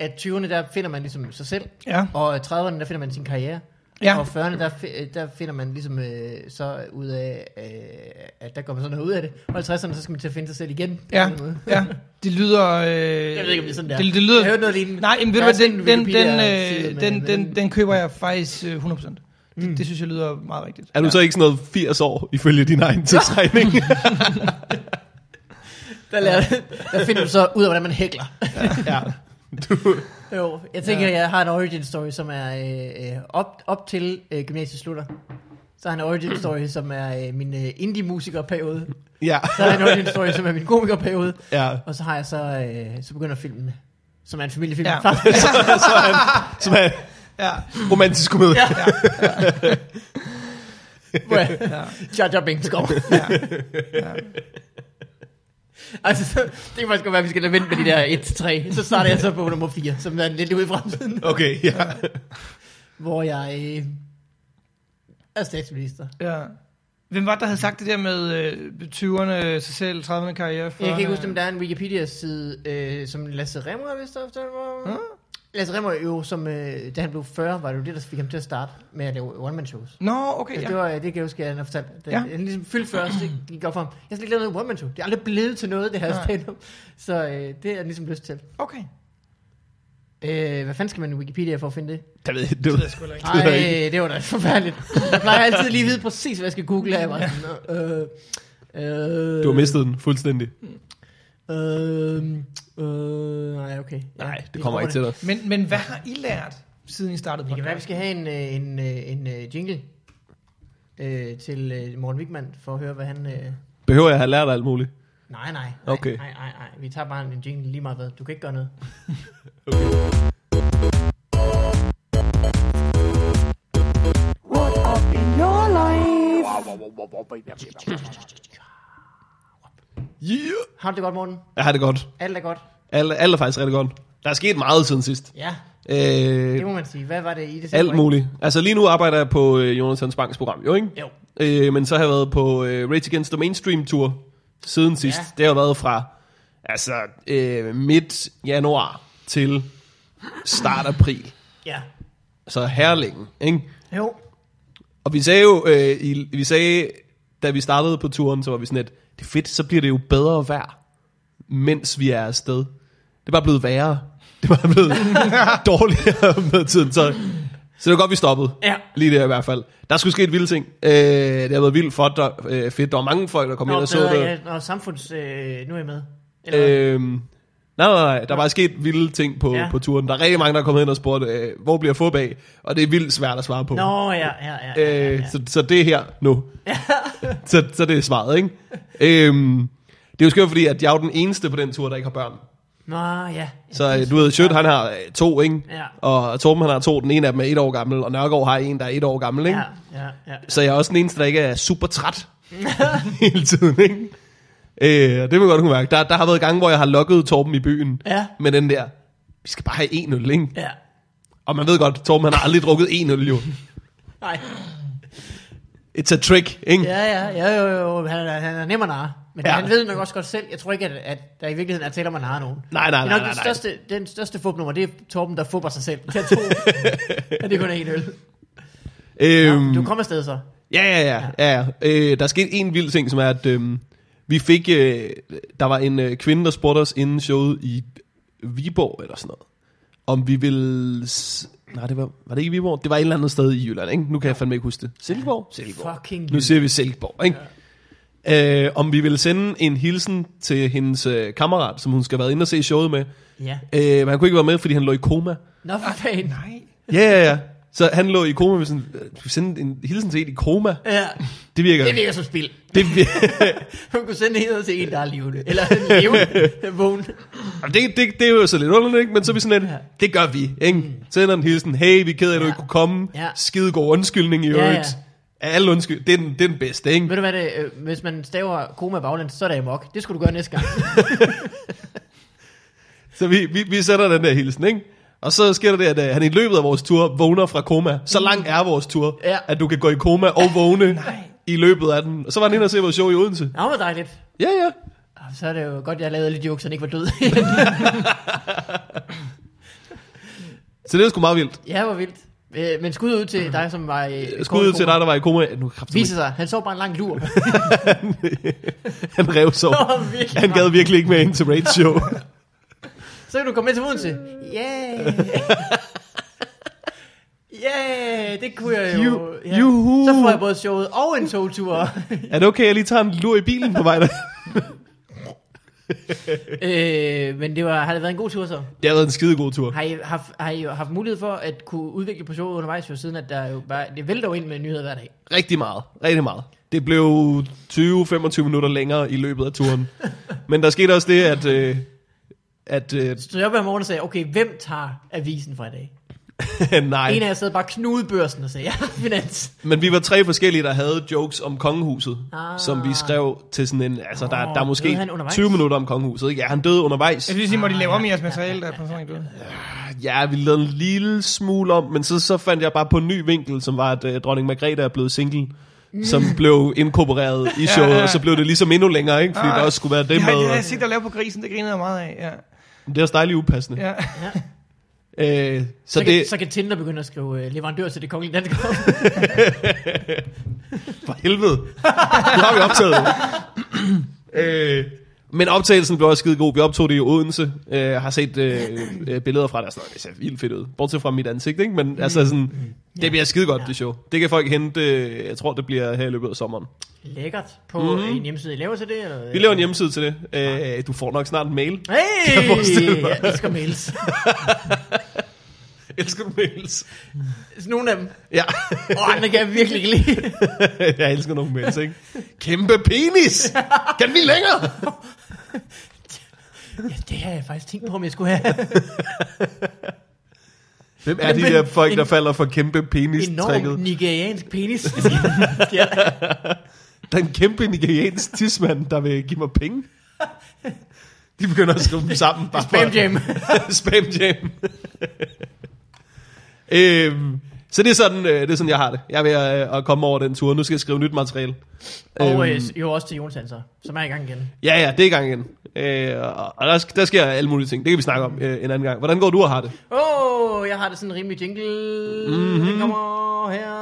S3: at 20'erne, der finder man ligesom sig selv,
S2: Ja.
S3: og 30'erne, der finder man sin karriere,
S2: Ja.
S3: og 40'erne, der, fi- øh, der finder man ligesom øh, så ud af, øh, at der kommer sådan noget ud af det, og 50'erne, så skal man til at finde sig selv igen. på
S2: Ja,
S3: en måde.
S2: ja. Det lyder... Øh, jeg
S3: Jeg ved ikke, om det er sådan der.
S2: Det, det lyder,
S3: jeg hørte noget lignende.
S2: Nej, men ved
S3: Der
S2: du
S3: er
S2: hvad,
S3: sådan
S2: den,
S3: en
S2: den, den,
S3: Wikipedia-side
S2: øh,
S3: med-
S2: den,
S3: med
S2: den, den køber jeg faktisk øh, 100%.
S3: Mm.
S2: Det, det synes jeg lyder meget rigtigt.
S1: Er du så ikke sådan noget 80 år, ifølge din egen (laughs) tidsregning?
S3: Der, lærer, der finder du så ud af, hvordan man hækler.
S1: ja. Du,
S3: Jo, jeg tænker, jeg har en origin story, som er øh, øh, op, op til øh, gymnasiet slutter. Så har jeg en origin story, som er øh, min øh, indie-musikerperiode.
S1: ja.
S3: Så har jeg en origin story, som er min komikerperiode.
S1: (laughs) ja.
S3: Og så har jeg så, øh, så begynder filmen, som er en familiefilm. (laughs)
S2: Ja.
S3: Ja. Faktisk,
S1: Som er
S2: Ja,
S1: romantisk komedie. Ja.
S3: hvor jeg,
S2: ja,
S3: Jar Jar Binks går.
S2: ja. ja.
S3: Altså, så, det kan faktisk godt være, at vi skal lade vente med de der 1-3. Så starter jeg så på nummer 4, som er lidt ude i fremtiden. (laughs)
S1: Okay, ja.
S3: Hvor jeg øh, er statsminister.
S2: Ja. Hvem var det, der havde sagt det der med øh, 20'erne, sig selv, 30'erne karriere? 40'erne?
S3: Jeg kan ikke huske, om der er en Wikipedia-side, øh, som Lasse Remmer, hvis der er
S2: Huh?
S3: Lasse Remmer jo, som, øh, da han blev 40, var det jo det, der fik ham til at starte med at lave one-man-shows.
S2: Nå, okay,
S3: Ja.
S2: ja.
S3: Det, var, øh, det kan jeg huske, at han har fortalt. Da
S2: Ja.
S3: Han ligesom fyldte 40, så det gik op for ham. Jeg har slet ikke lavet noget one-man-show. Det er aldrig blevet til noget, det her
S2: Nej.
S3: stand-up. Så øh, det har jeg ligesom lyst til.
S2: Okay.
S3: Øh, hvad fanden skal man i Wikipedia for at finde det?
S1: Der ved jeg, det ved jeg ikke. Det ved jeg ikke.
S3: Nej, det var da (laughs) forfærdeligt. Jeg plejer altid lige at vide præcis, hvad jeg skal google. og Jeg var sådan, øh, øh,
S1: Du har mistet den fuldstændig.
S3: Øhm, øh, nej, okay. Ja, vi tror
S1: dig.
S2: Men, men hvad har I lært, siden I startede
S3: Det kan være, vi
S2: podcast?
S3: skal have en, øh, en, øh, en øh, jingle øh, til øh, Morten Wigman, for at høre, hvad han... Øh...
S1: Behøver jeg at have lært alt muligt?
S3: Nej, nej, nej,
S1: Okay.
S3: nej, nej, nej, vi tager bare en jingle lige meget hvad. Du kan ikke gøre noget.
S4: What up in your life?
S1: Yeah.
S3: Har du det godt, Morten?
S1: Jeg har det godt.
S3: Alt er godt?
S1: Alt, alt er faktisk rigtig godt. Der er sket meget siden sidst.
S3: Ja,
S1: Øh,
S3: det må man sige. Hvad var det i det?
S1: alt muligt. Altså lige nu arbejder jeg på øh, Jonathan Banks program, jo ikke?
S3: Jo.
S1: Øh, men så har jeg været på øh, Rage Against the Mainstream Tour siden sidst.
S3: Ja.
S1: Ja. Det har været fra altså, øh, midt januar til start april.
S3: Ja.
S1: Så herlingen, ikke?
S3: Jo.
S1: Og vi sagde jo, øh, i, vi sagde, da vi startede på turen, så var vi sådan lidt, det er fedt, så bliver det jo bedre vejr, mens vi er afsted. Det var blevet værre. Det var
S3: (laughs)
S1: blevet dårligere med tiden, så, så det var godt, vi stoppede.
S3: Ja.
S1: Lige der i hvert fald. Der skulle ske et vildt ting. Øh, det har været vildt for, der, øh, fedt. Der var mange folk, der kom
S3: Nå,
S1: ind og så det.
S3: bedre, ja. Nå, samfunds... Øh, nu er jeg med. Eller, øh,
S1: Øhm, Nej, nej, nej, der var sket vilde ting på, ja.
S3: Ja.
S1: på turen. Der er rigtig mange, der er kommet hen og spurgt, øh, hvor bliver få bag? Og det er vildt svært at svare på.
S3: Nå, ja, ja, ja. ja, ja,
S1: Øh,
S3: ja.
S1: så, så det er her nu. så, så det er svaret, ikke? Øhm, det er jo skørt, fordi at jeg er jo den eneste på den tur, der ikke har børn.
S3: (laughs) Nå, ja.
S1: Så øh, du ved, Sjøt, han har øh, to, ikke?
S3: Ja.
S1: Og Torben, han har to. Den ene af dem er et år gammel, og Nørgaard har en, der er et år gammel, ikke?
S3: Ja, ja, ja. (laughs)
S1: Så jeg er også den eneste, der ikke er super træt (laughs) hele tiden, ikke? Øh, og det vil jeg godt kunne mærke. Der, der har været gange, hvor jeg har lukket Torben i byen
S3: Ja.
S1: med den der, vi skal bare have en øl, ikke?
S3: Ja.
S1: Og man ved godt, Torben han har aldrig drukket en øl, jo.
S3: Nej.
S1: It's a trick, ikke?
S3: Ja, ja, ja, jo, jo, han, er- han er nem at narre. Men
S1: Ja.
S3: ja. han ved nok også godt selv. Jeg tror ikke, at, at der i virkeligheden er tale om at narre nogen.
S1: Nej, nej,
S3: det
S1: nej,
S3: er
S1: nej,
S3: nok
S1: nej.
S3: den største, den største fupnummer, det er Torben, der fupper sig selv. Jeg
S1: (laughs)
S3: tror, at det kun er en øl.
S1: Øhm,
S3: Du kommer afsted så.
S1: Ja, ja, ja. ja, ja. Øh, der er sket en vild ting, som er, at øhm, vi fik... Øh, der var en øh, kvinde, der spurgte os inden showet i Viborg eller sådan noget. Om vi ville... S- Nej, det var, var det ikke i Viborg? Det var et eller andet sted i Jylland, ikke? Nu kan jeg fandme ikke huske det. Silkeborg? Silkeborg.
S3: Fucking
S1: Nu siger vi Silkeborg, ikke? Ja. Øh, om vi ville sende en hilsen til hendes øh, kammerat, som hun skal have været inde og se showet med.
S3: Ja.
S1: Øh, men han kunne ikke være med, fordi han lå i koma.
S3: Nå, for fanden.
S2: Nej.
S1: Ja, ja, ja. Så han lå i koma med sådan... øh, Du sendte en hilsen til en i koma?
S3: Ja.
S1: Det virker...
S3: Det virker som spil.
S1: Det, vir- (laughs)
S3: Hun kunne sende en til en, der er levende. Eller en levende vågen.
S1: Jamen, det, det, det er jo så lidt underligt, ikke? men så er vi sådan lidt,
S3: Ja. Mm.
S1: det gør vi, ikke? Sender en hilsen, hey, vi er ked af, at du
S3: Ja.
S1: ikke kunne komme.
S3: Ja.
S1: Skide god undskyldning i
S3: Ja, ja.
S1: øvrigt. Ja, Alle undskyld, det er den, det er den bedste, ikke?
S3: Ved du hvad det øh, Hvis man staver koma baglæns, så er det amok. Det skulle du gøre næste gang.
S1: Så vi, vi, vi sender den der hilsen, ikke? Og så sker der det, at øh, han i løbet af vores tur vågner fra koma. Så lang er vores tur,
S3: Mm. Ja.
S1: at du kan gå i koma og
S3: (laughs)
S1: vågne i løbet af den. Og så var han inde og se vores show i Odense.
S3: Nå, hvor dejligt.
S1: Ja, ja.
S3: Ah, Så er det jo godt, jeg lavede lidt jokes, så han ikke var død. (laughs)
S1: Så det er sgu meget vildt.
S3: ja, hvor vildt. Øh, Men skud ud til dig, som var i
S1: Skud ud til dig, der var i koma. Nu kraftedeme
S3: Viser sig, han så bare en
S1: (laughs)
S3: lang lur.
S1: ikke. (laughs) Han rev så.
S3: (laughs) Virkelig
S1: Han gad
S3: meget.
S1: virkelig ikke med ind til Rage
S3: (laughs)
S1: Show.
S3: Så kan du komme med til Odense.
S1: (laughs)
S3: Yeah. Yeah, det kunne jeg jo.
S1: Ju- juhu.
S3: Så får jeg både showet og en togtur. (laughs)
S1: er det okay, at jeg lige tager en lur i bilen på vej der?
S3: øh, men det var, har det været en god tur så?
S1: Det har været en skidegod tur.
S3: Har I haft, har I haft mulighed for at kunne udvikle på showet undervejs, jo, siden at der jo bare, det vælter jo ind med nyheder hver dag?
S1: Rigtig meget. Rigtig meget. Det blev 20-25 minutter længere i løbet af turen. Men der skete også det, at... Øh, at øh, (laughs)
S3: Så jeg op hver morgen og sagde, okay, hvem tager avisen fra i dag? En af
S1: nej,
S3: jer sad bare og knudede børsen og sagde, (laughs) ja, finans.
S1: men vi var tre forskellige, der havde jokes om kongehuset, ah.
S3: Ah.
S1: som vi skrev til sådan en... Altså, der, der er
S3: Åh,
S1: måske
S3: døde han undervejs?
S1: 20 minutter om kongehuset. Ikke? Ja, han døde undervejs.
S2: Jeg synes, I må de lave om i jeres materiale, der er på sådan en måde.
S1: Ja, vi lavede en lille smule om, men så, så fandt jeg bare på en ny vinkel, som var, at øh, dronning Margrethe er blevet single, som blev inkorporeret i showet,
S2: ja, ja.
S1: og så blev det ligesom endnu længere, ikke? fordi
S2: Ah.
S1: der også skulle være det
S2: Nej,
S1: med.
S2: det har
S1: og-
S2: jeg set dig lave på grisen, det grinede jeg meget af. Ja.
S1: Det er også dejligt upassende.
S2: ja.
S1: Øh, så,
S3: Så,
S1: så
S3: kan,
S1: det,
S3: så kan Tinder begynde at skrive øh, leverandør til det kongelige danske Hof.
S1: for helvede, (laughs) nu har vi optaget det. øh, men optagelsen blev også skide god. Vi optog det i Odense. Øh, har set øh, øh, billeder fra det. og sådan noget. Det ser vildt fedt ud. Bortset fra mit ansigt, ikke? Men altså sådan, det bliver skide godt, det show. Det kan folk hente, øh, jeg tror, det bliver her i løbet af sommeren.
S3: (laughs) Lækkert. På mm-hmm. en hjemmeside, I laver til det? Eller?
S1: Mhm. Vi laver en hjemmeside til det. Øh, du får nok snart en mail. (laughs)
S3: Hey!
S1: jeg forestille mig.
S3: Jeg elsker
S1: (laughs)
S3: mails.
S1: Elsker du mails?
S3: Sådan Nogle af dem.
S1: Ja, (laughs)
S3: Åh, oh, andre kan jeg virkelig ikke lide.
S1: jeg elsker nogle mails, ikke? Kæmpe (laughs) penis! Kan vi længere?
S3: Ja, det har jeg faktisk tænkt på, om jeg skulle have.
S1: Hvem er de
S3: Men-
S1: der folk, der
S3: en-
S1: falder for kæmpe
S3: Enorm
S1: penis-trækket?
S3: nigeriansk
S1: (laughs)
S3: penis. Det skal- skal jeg-
S1: Der er en kæmpe nigeriansk tidsmand, der vil give mig penge. De begynder at skrive dem sammen. Bare
S3: Spam jam.
S1: For, (laughs) spam jam. øhm, så det er, sådan, øh, det er sådan, jeg har det. Jeg er ved at, øh, at komme over den tur. Nu skal jeg skrive nyt materiale. Øhm,
S3: Og øh, jo også til Jonas Hanser, som er i gang igen.
S1: Ja, ja, det er i gang igen. Øh, og og der, sk- der sker alle mulige ting. Det kan vi snakke om øh, en anden gang. Hvordan går du og har det?
S3: Åh, oh, jeg har det sådan en rimelig jingle. Mm-hmm. Den kommer her.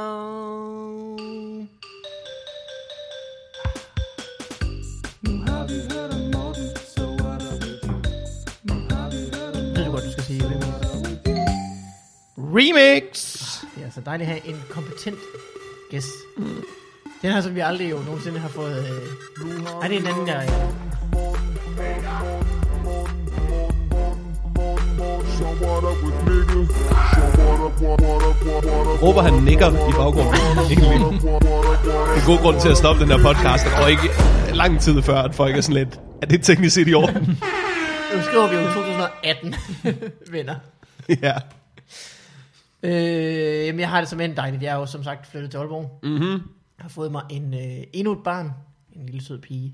S3: Ved du godt, du skal sige remix?
S2: Remix!
S3: Det er så dejligt at have en kompetent gæst. Mm. Den her, som vi aldrig jo nogensinde har fået... Øh... Ej, det er en anden, jeg...
S5: So what up with niggas? So what up, what, what up, what, what up?
S1: Råber han nikker i baggrunden. Egentlig.
S5: What, what up, what up?
S1: En god grund til at stoppe den her podcast, og ikke lang tid før, at folk er sådan lidt, er det teknisk set i orden? (laughs)
S3: Nu skriver vi jo 2018, (laughs) venner.
S1: ja.
S3: Øh, jamen, jeg har det som en dejligt. Jeg er jo som sagt flyttet til Aalborg. Mm-hmm.
S1: Mhm.
S3: Jeg har fået mig en, øh, endnu et barn. En lille sød pige.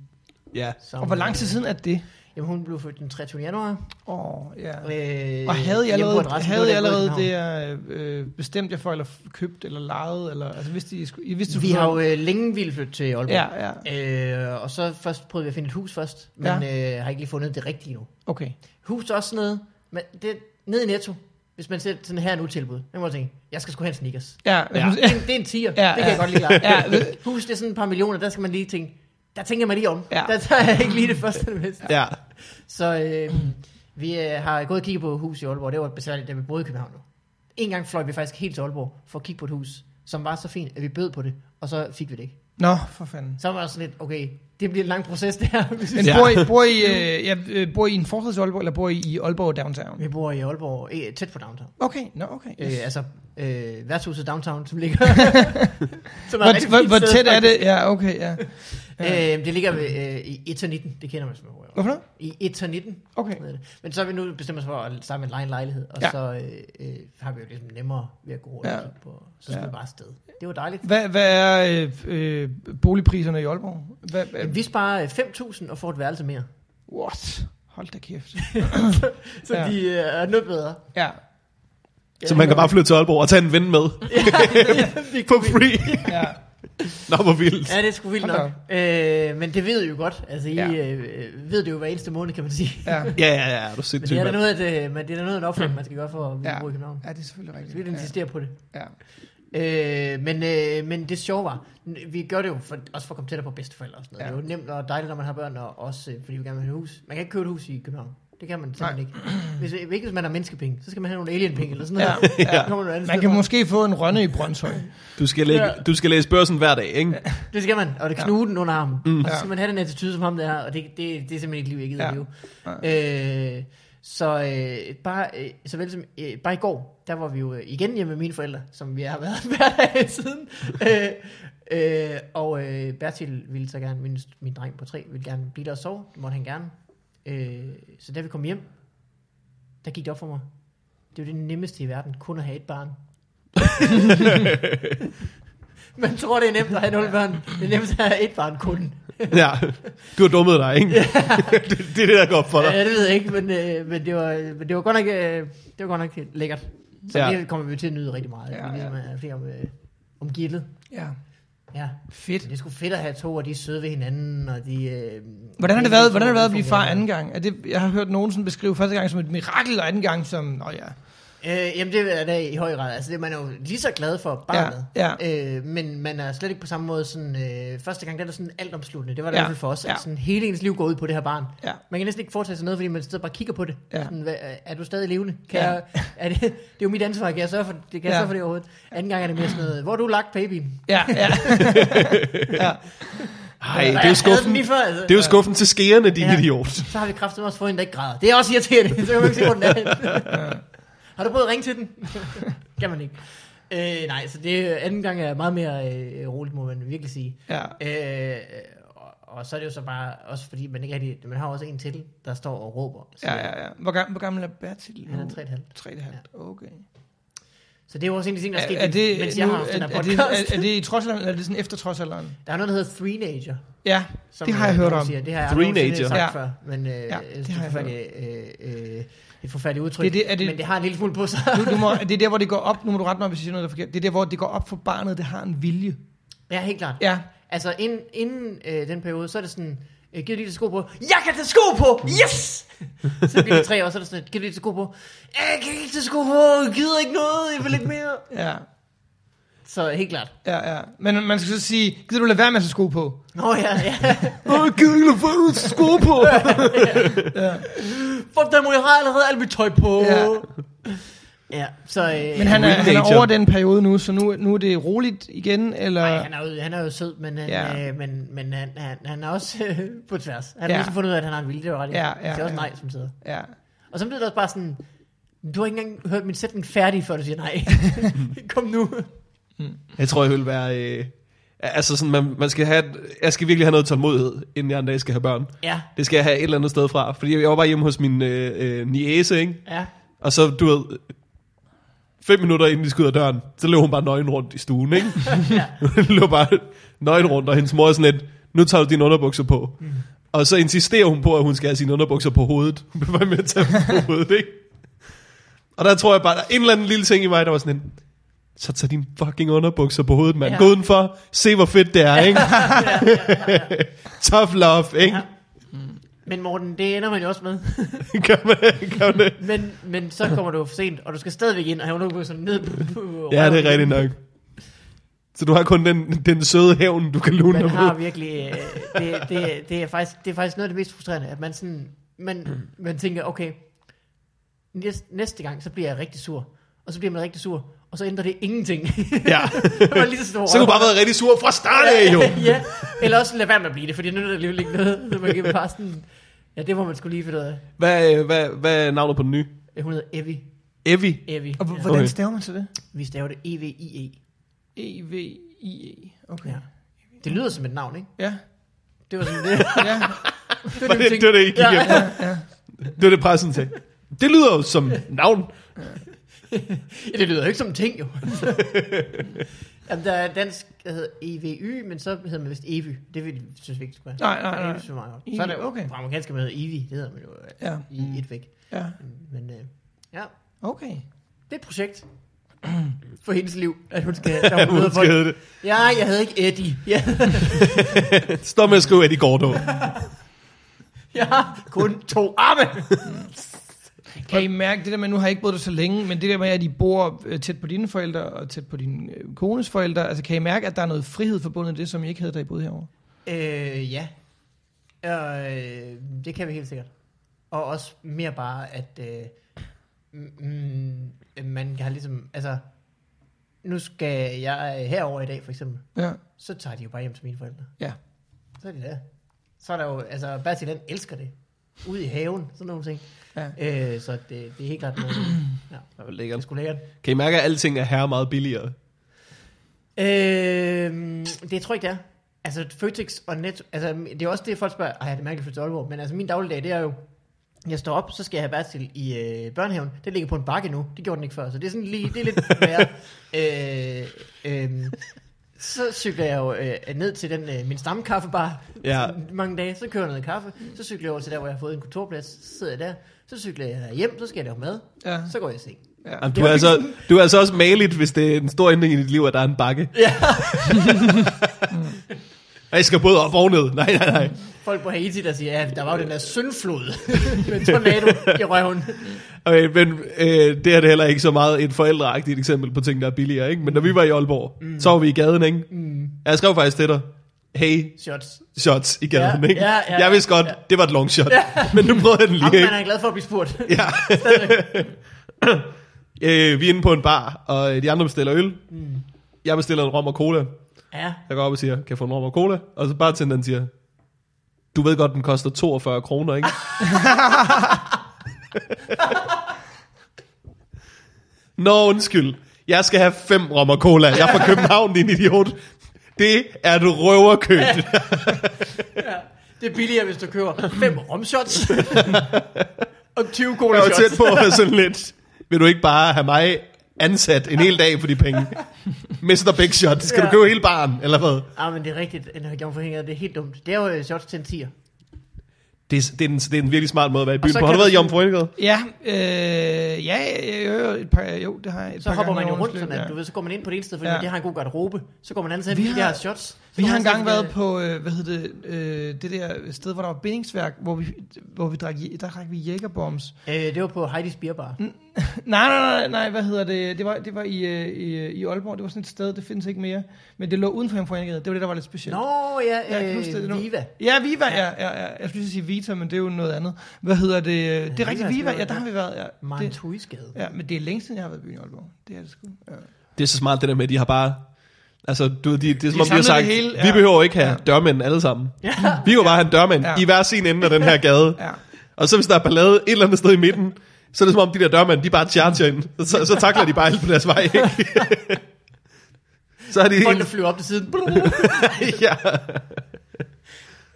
S1: Ja.
S3: Som, øh,
S2: Og hvor lang tid siden er det?
S3: Jamen, hun blev født den 23. januar.
S2: Åh, oh, ja.
S3: Øh,
S2: Og havde jeg
S3: hjemme på
S2: allerede,
S3: adressen,
S2: havde jeg
S3: var der
S2: allerede
S3: gået i
S2: det, jeg øh, bestemte jer for, eller f- købt, eller lejet, eller, altså vidste I, skulle- I vidste,
S3: København. Vi har jo øh, længe ville flytte til Aalborg.
S2: Ja, ja,
S3: Øh, og så først prøvede vi at finde et hus først, men ja. øh, har ikke lige fundet det rigtige nu.
S2: okay.
S3: Hus er også nede, men det, nede i Netto, hvis man ser sådan her nu tilbud. Jeg må jeg tænke, jeg skal sgu have en sneakers.
S2: Ja,
S3: Ja.
S2: ja.
S3: Det, er en- det er en tiger, ja,
S2: Ja,
S3: det kan
S2: ja.
S3: ja. jeg godt lide. Ja,
S2: Ja,
S3: ved... Hus, det er sådan et par millioner, der skal man lige tænke, der tænker man lige om. Ja.
S2: Ja.
S3: Der tager jeg ikke lige det første og det bedste.
S1: Ja.
S3: Så øh, vi øh, har gået og kigget på et hus i Aalborg. Det var besværligt, da vi boede i København nu. En gang fløj vi faktisk helt til Aalborg for at kigge på et hus, som var så fint, at vi bød på det, og så fik vi det ikke.
S2: (laughs) Nå, for fanden.
S3: Så var jeg sådan lidt, okay, det bliver en lang proces det her. hvis vi-
S2: Men
S1: Ja.
S2: ja. bor, I, bor, I, øh, ja, øh, bor I i en forstads Aalborg, eller bor I i Aalborg Downtown?
S3: (laughs) Vi bor i Aalborg, eh, tæt på downtown.
S2: Okay, nå, okay.
S3: Øh,
S2: Yes.
S3: altså, øh, værtshuset downtown, som
S2: (laughs)
S3: ligger... som
S2: Hvor,
S3: er et rigtig
S2: hvor,
S3: fint
S2: hvor
S3: sted,
S2: tæt er
S3: faktisk.
S2: det? Ja, okay, ja.
S3: Øh, det ligger ved, øh, i 1 19, det kender man som hvor jeg var.
S2: Hvorfor noget?
S3: I 1 19.
S2: Okay.
S3: Men så har vi nu bestemt os for at starte med en leje en lejlighed, og ja.
S2: Ja.
S3: så øh, øh, har vi jo ligesom nemmere ved at gå rundt
S2: Ja.
S3: ja. på. Så skulle ja.
S2: Ja.
S3: vi bare afsted. Det var dejligt.
S2: Hvad, hvad er øh, øh, boligpriserne i Aalborg? Hvad,
S3: Jamen,
S2: øh,
S3: vi sparer øh, 5.000 og får et værelse mere.
S2: what? Hold da kæft.
S3: Så ja.
S2: Ja.
S3: de øh, er noget
S2: (laughs)
S3: bedre.
S2: Ja.
S1: Så man kan bare flytte til Aalborg og tage en ven med.
S3: (laughs)
S1: På free.
S2: ja.
S1: Nå, hvor vildt.
S3: Ja, det er sgu vildt
S2: Hold da
S3: nok. Øh, men det ved I jo godt. Altså, I
S2: Ja.
S3: ja. øh, ved det jo hver eneste måned, kan man sige.
S2: Ja.
S1: Ja, ja, ja, er du
S3: Men
S1: sindssyg,
S3: det er da
S1: mand.
S3: noget, at, øh, men det er da noget af en opfølgning, man skal gøre for at
S2: Ja.
S3: bruge i København.
S2: ja, det er selvfølgelig
S3: Så vi
S2: rigtigt.
S3: vil insistere på det.
S2: Ja.
S3: Øh, men, øh, men det sjove var, n- vi gør det jo for, også for at komme tættere på bedsteforældre og sådan noget. Ja.
S2: Ja.
S3: Det er jo nemt og dejligt, når man har børn, og også øh, fordi vi gerne vil have et hus. Man kan ikke købe et hus i København. Det kan man simpelthen ikke. Hvis, øh, ikke hvis man har menneskepenge, så skal man have nogle alienpenge eller sådan
S2: Ja.
S3: noget.
S1: Ja.
S3: (laughs) Så kommer du et andet
S2: Man
S3: sted
S2: kan
S3: fra.
S2: måske få en rønne i Brøndshøj.
S1: Du skal, lægge,
S3: Ja.
S1: du skal læse børsen hver dag, ikke?
S3: Det skal man, og det knuger den under armen. Mm. Og så skal
S2: Ja.
S3: man have den attitude som ham der, og det, det, det er simpelthen ikke liv, jeg gider
S2: Ja.
S3: ja. leve. Øh, så øh, bare, øh, såvel som, øh, bare i går, der var vi jo øh, igen hjemme med mine forældre, som vi har været (laughs) hver dag siden. øh, øh, og øh, Bertil ville så gerne, min, min dreng på tre, ville gerne blive der og sove. Det måtte han gerne. Øh, så da vi kom hjem, der gik det op for mig. Det er jo det nemmeste i verden, kun at have et barn. Man tror, det er nemt at have nul børn. Det er nemt at have et barn kun.
S1: (laughs) Ja. Du har dummet dig, ikke? (laughs) det, det er det, der går op for dig.
S3: Ja, det ved jeg ikke, men, øh, men, det, var, men det var godt nok, øh, det var godt nok lækkert. Så
S1: Ja.
S3: ja. det kommer vi til at nyde rigtig meget. Ja,
S2: Ja,
S3: vi ligesom
S2: ja.
S3: er flere om, øh, om gildet.
S2: Ja.
S3: Ja.
S2: Fedt.
S3: Det er sgu fedt at have to, og de er søde ved hinanden, og de... Øh,
S2: Hvordan har det
S3: de-
S2: været, hvordan har det været at blive far
S3: fungerer.
S2: anden gang? Er det, jeg har hørt nogen sådan beskrive første gang som et mirakel, og anden gang som, nå ja.
S3: Øh, jamen, det er det i høj grad. Altså, det, man er jo lige så glad for barnet.
S2: Ja,
S3: Øh, men man er slet ikke på samme måde sådan... Øh, første gang, der er det sådan alt omsluttende. Det var det
S2: Ja,
S3: i hvert fald for os. Ja.
S2: ja.
S3: Sådan, hele ens liv går ud på det her barn.
S2: Ja.
S3: Man kan næsten ikke foretage sig noget, fordi man sidder og bare kigger på det.
S2: Ja.
S3: Sådan, hvad, er du stadig levende? Kan ja.
S2: Ja.
S3: jeg, er det, det er jo mit ansvar, kan jeg sørge for det, kan jeg
S2: Ja.
S3: sørge for det overhovedet? Anden gang er det mere sådan noget, hvor har du lagt babyen?
S2: Ja, ja.
S1: Ej, det er jo skuffen.
S3: Lige før, altså.
S1: Det er jo skuffen til skærende, din
S3: Ja.
S1: idiot.
S3: Så har vi kraftigt også fået en, der ikke græder. Det er også irriterende, (laughs) så kan man ikke se, hvor den er. har du prøvet at ringe til den? (laughs) kan man ikke. Øh, nej, så det anden gang er meget mere øh, roligt, må man virkelig sige.
S2: ja.
S3: Øh, og, og, så er det jo så bare, også fordi man ikke rigtig, man har også en til, der står og råber. Så
S2: Ja, ja, ja. Hvor, gammel, hvor gammel er Bertil?
S3: Han er 3,5.
S2: 3,5. Okay.
S3: Så det er jo også en af de ting, der er
S2: Er,
S3: sket,
S2: er det,
S3: mens
S2: nu,
S3: jeg har
S2: er,
S3: haft den her
S2: er, det,
S3: podcast.
S2: er, er det i trodsalderen, eller er det sådan efter trodsalderen?
S3: Der er noget, der hedder Threenager.
S2: Ja,
S3: som,
S2: det har
S3: øh,
S2: jeg hørt
S3: nogen
S2: om.
S3: Siger. Det har jeg
S1: Threenager.
S3: nogensinde sagt
S2: Ja.
S3: før, men øh, ja, det,
S2: det
S3: er
S2: har jeg hørt
S3: forfærdeligt, øh, øh, et forfærdeligt udtryk,
S2: Det er det- er det-
S3: men det har en lille smule på sig. (laughs)
S2: Du, du må, det er der, hvor det går op. Nu må du rette mig, hvis jeg siger noget, der er forkert. Det er der, hvor det går op for barnet, det har en vilje.
S3: ja, helt klart.
S2: Ja,
S3: Altså, inden, inden øh, den periode, så er det sådan, øh, giv lige det sko på. Jeg kan tage sko på!
S2: (laughs)
S3: Yes! så bliver det tre år, så er det sådan, giv lige det sko på. Jeg kan ikke tage sko på, jeg gider ikke noget, jeg vil ikke mere.
S2: ja,
S3: Så helt klart.
S2: ja, ja. Men man skal så sige, gider du lade være med at tage sko på?
S3: Nå
S2: (laughs)
S3: ja, ja.
S1: Åh, gidder du sko på?
S3: For der må jeg har allerede alt mit tøj på.
S2: Ja.
S3: ja så... Øh,
S2: Men han er, han
S1: Teenager.
S2: er over den periode nu, så nu, nu er det roligt igen, eller?
S3: Ej, han, er jo, han er jo sød, men han, ja.
S2: Ja.
S3: øh, men, men han, han, han er også øh, (laughs) på tværs. Han har
S2: Ja.
S3: ligesom fundet ud af, at han har en vilje, det var ret i.
S2: Ja, ja,
S3: det er også
S2: ja.
S3: nej, som sidder.
S2: Ja,
S3: Og så bliver det også bare sådan, Du har ikke engang hørt min sætning færdig, før du siger
S2: (laughs)
S3: nej. Kom nu.
S1: Jeg tror, jeg vil være... Øh, altså sådan, man, man skal have, jeg skal virkelig have noget tålmodighed, inden jeg en dag skal have børn.
S3: Ja,
S1: Det skal jeg have et eller andet sted fra. Fordi jeg var bare hjemme hos min øh, øh, niæse, ikke?
S3: ja.
S1: Og så, du ved, fem minutter inden de skulle ud af døren, så løb hun bare nøgen rundt i stuen, ikke? Hun løb bare nøgen rundt, og hendes mor er sådan lidt, nu tager du dine underbukser på. Mm. Og så insisterer hun på, at hun skal have sine underbukser på hovedet. (laughs) Hun bliver bare med at tage dem på hovedet, ikke? Og der tror jeg bare, der er en eller anden lille ting i mig, der var sådan en, så tag dine fucking underbukser på hovedet, mand.
S3: Ja.
S1: Ja. Gå udenfor, se hvor fedt (laughs) det er, ikke? Tough love, ikke?
S3: Men Morten, det ender man jo også med. (laughs)
S1: Ja. gør man, gør man det?
S3: men, men så kommer du jo for sent, og du skal stadigvæk ind og have underbukserne ned på, på
S1: Ja, det
S3: røven.
S1: er rigtigt nok. Så du har kun den, den søde hævn, du kan lune
S3: Man
S1: dig
S3: har
S1: mod.
S3: virkelig, øh, det, det, det, er faktisk, det er faktisk noget af det mest frustrerende, at man, sådan, man, man tænker, okay, næste, næste gang, så bliver jeg rigtig sur, og så bliver man rigtig sur, og så ændrer det ingenting.
S1: Ja.
S3: så er (laughs) man lige så stor.
S1: Så kunne du bare være rigtig sur fra start af, jo.
S3: (laughs) ja, eller også lad være med at blive det, for det nytter alligevel ikke noget, så man kan bare sådan, ja, det må man skulle lige finde ud af.
S1: Hvad, øh, hvad, hvad er navnet på den nye?
S3: Hun hedder Evi.
S1: Evi.
S3: Evi.
S2: Og
S3: Ja.
S2: hvordan
S1: Okay.
S2: staver man til det?
S3: Vi staver det E E-V-I-E.
S2: E E-V-I-E. Okay.
S3: Ja. Det lyder som et navn, ikke?
S2: E. Ja.
S3: Det
S1: (laughs)
S3: var sådan det.
S2: ja.
S3: Det
S1: Var det, det var det, I gik
S3: Ja.
S1: efter. Det var det, pressen sagde. Det lyder jo som navn.
S3: Ja, det lyder jo ikke som en ting, jo. (laughs) Jamen, der er dansk, der hedder EVY, men så hedder man vist EVY. Det vil, synes vi ikke, skulle være.
S2: Nej, nej, nej.
S3: EVY synes jeg er meget godt. Så er der
S2: EVY,
S3: jo
S2: okay.
S3: på amerikansk, man hedder EVY. Det hedder man jo øh,
S2: Ja.
S3: i et væk.
S2: Ja.
S3: Men øh, ja,
S2: Okay.
S3: det er et (clears throat) projekt for hendes liv, at (laughs) hun skal... Der hun
S1: Hun
S3: møder
S1: skal
S3: folk.
S1: hedde det.
S3: Ja, jeg havde ikke Eddie. Ja,
S1: Stop med at skrive Eddie Gordo.
S3: (laughs) jeg har kun to arme.
S2: Kan I mærke det der med, nu har jeg ikke boet der så længe, men det der med, at I bor øh, tæt på dine forældre og tæt på din øh, kones forældre, altså kan I mærke, at der er noget frihed forbundet med det, som I ikke havde, da I boede herovre?
S3: Øh, ja. Øh, det kan vi helt sikkert. Og også mere bare, at øh, mm, mm, man har ligesom, altså, nu skal jeg herover i dag for eksempel,
S2: Ja.
S3: så tager de jo bare hjem til mine forældre.
S2: Ja.
S3: Så er de der. Så er der jo, altså, Bertil han elsker det. Ude i haven, sådan nogle ting.
S2: Ja.
S3: Øh, så det, det er helt klart noget. Ja, det er sgu lækkert.
S1: Kan I mærke, at alting er her meget billigere?
S3: Øh, det tror jeg ikke, det er. Altså Føtex og Netto, altså det er også det, folk spørger, ej, det er mærkeligt for Aalborg, men altså min dagligdag, det er jo, jeg står op, så skal jeg have Bertil i øh, børnehaven. Det ligger på en bakke nu. Det gjorde den ikke før, så det er sådan lige, det er lidt værre. øh, øh, så cykler jeg jo øh, ned til den, øh, min stamkaffebar
S1: Ja.
S3: (laughs) mange dage, så kører jeg noget kaffe, så cykler jeg over til der, hvor jeg har fået en kontorplads, så sidder jeg der, så cykler jeg hjem, så skal jeg lave mad,
S2: Ja.
S3: så går jeg i seng.
S1: Jamen, du, er altså, du er altså også maligt, hvis det er en stor ændring i dit liv, at der er en bakke.
S3: Ja.
S1: (laughs) Og jeg skal både op og ned. Nej, nej, nej.
S3: Folk på Haiti, der siger, ja, der var jo den der syndflod (laughs) med tornado i røven.
S1: Okay, men øh, det her det er heller ikke så meget et forældreagtigt eksempel på ting, der er billigere. Ikke? Men da vi var i Aalborg, mm. så var vi i gaden. Ikke? Mm. Jeg skrev faktisk til dig, hey,
S3: Shots.
S1: shots i gaden.
S3: Ja,
S1: ikke?
S3: ja, ja,
S1: jeg vidste godt,
S3: ja.
S1: det var et long shot. (laughs) Men nu prøvede jeg den
S3: Jamen,
S1: lige. Ikke?
S3: man er glad for at blive spurgt.
S1: Ja. øh, vi er inde på en bar, og de andre bestiller øl. Mm. Jeg bestiller en rom og cola.
S3: Ja,
S1: Jeg går op og siger, kan jeg få en rom og cola? Og så bartenderen siger, du ved godt, den koster 42 kroner, ikke? (laughs) Nå, undskyld. Jeg skal have fem rom og cola. Jeg er fra København, din idiot. Det er et røverkøb.
S3: det er billigere, hvis du køber fem
S2: (laughs)
S3: romshots og 20 cola
S1: Jeg var tæt
S3: shots.
S1: på at være sådan lidt, vil du ikke bare have mig ansat en hel dag for de penge? Mr. Big Shot, skal ja.
S3: Ja.
S1: du købe hele baren, eller hvad?
S3: Ah, men det er rigtigt, når jeg gjorde forhænger, det er helt dumt. Det er jo øh, shots til en 10'er.
S1: Det er, det, er en, det er en virkelig smart måde at være i byen
S3: så
S1: på.
S3: kan
S1: Har du
S3: du
S1: været i
S3: sådan-
S1: Jomfru
S2: Ja, øh, ja, jo, jo, et par, jo, det har jeg et
S3: Så
S2: par
S3: hopper
S2: gange i
S3: man jo
S2: årenes
S3: rundt sådan,
S2: løb,
S3: at
S2: ja.
S3: du ved, så går man ind på det ene sted, fordi
S2: Ja.
S3: det har en god garderobe. Så går man andet sted,
S2: Vi
S3: fordi det
S2: har-
S3: har shots. Så
S2: Vi
S3: går
S2: har
S3: man andet
S2: engang
S3: sted, fordi
S2: været på, øh, hvad hedder det, øh, det der sted, hvor der var bindingsværk, hvor vi, hvor vi drak, der drak vi (laughs) jægerbombs.
S3: det- Øh, det var på Heidi's Beer Bar.
S2: Nej, nej, nej, nej, hvad hedder det, det var, det var i, øh, i, øh, i Aalborg, det var sådan et sted, det findes ikke mere, men det lå uden for Jomfruengade, det var det, der var lidt specielt.
S3: Nå,
S2: jeg
S3: ja,
S2: kan huske det nu.
S3: øh, Viva.
S2: Ja, Viva, ja, ja, ja. Jeg skulle lige sige Vita, men det er jo noget andet. Hvad hedder det? Det er rigtigt,
S3: skal
S2: Viva,
S3: vi
S2: ja, der
S3: have.
S2: har vi været, ja. Det,
S3: Mantuisgade.
S2: ja, men det er længe siden, jeg har været i byen i Aalborg. Det er det sgu. Ja.
S1: Det er så smart det der med, at de har bare... Altså, du ved, de, det er som
S2: De
S1: om, de har
S2: samlede
S1: sagt,
S2: det hele,
S1: vi
S2: ja.
S1: behøver ikke have
S2: Ja.
S1: dørmænd alle sammen.
S3: Ja.
S1: Vi kan jo bare have en dørmand
S2: Ja.
S1: i hver sin ende af den her gade.
S2: Ja.
S1: Og så hvis der er ballade et eller andet sted i midten, Så er det som om, de der dørmænd, de bare charger ind. Så, så takler de bare alt på deres vej, ikke? så er de...
S3: Folk, der flyver op til
S2: (laughs)
S1: (laughs)
S3: siden.
S1: ja.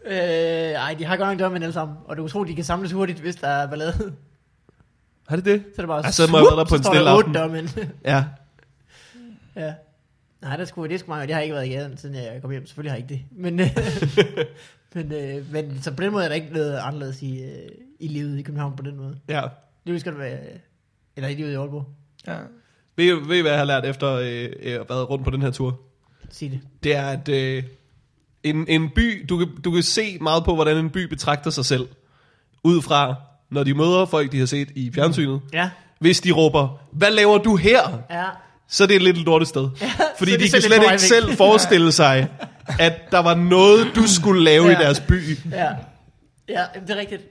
S3: øh, ej, de har godt nok dørmænd alle sammen. Og det er utroligt, de kan samles hurtigt, hvis der er ballade. (laughs) Så
S1: Har det det?
S3: er det bare
S1: Ja, så må jeg
S3: swoop,
S1: være der på en
S3: står
S1: stille
S3: der
S1: aften.
S3: otte dørmænd.
S1: Ja.
S3: (laughs) ja. Nej, det skulle, det skulle mange. Det har ikke været i gaden, siden jeg kom hjem. Selvfølgelig har jeg ikke det. Men, øh, (laughs) men, øh, men så på den måde er der ikke noget anderledes i, øh, i livet i København på den måde.
S1: Ja.
S3: Det skal det være... Eller i livet i Aalborg.
S2: Ja.
S1: Ved, I- ved I, hvad jeg har lært efter øh, øh, at have været rundt på den her tur?
S3: Sig det.
S1: Det er, at øh, en, en by, du kan, du kan se meget på, hvordan en by betragter sig selv. Ud fra, når de møder folk, de har set i fjernsynet.
S3: Ja.
S1: Hvis de råber, hvad laver du her?
S3: Ja.
S1: så er det et lidt lortet sted. Ja, Fordi de,
S3: så er de
S1: de
S3: selv
S1: kan slet
S3: lidt på
S1: ikke
S3: vej væk.
S1: selv forestille sig, at der var noget, du skulle lave ja.
S3: Ja.
S1: i deres by.
S3: Ja. Ja, jamen, det er rigtigt.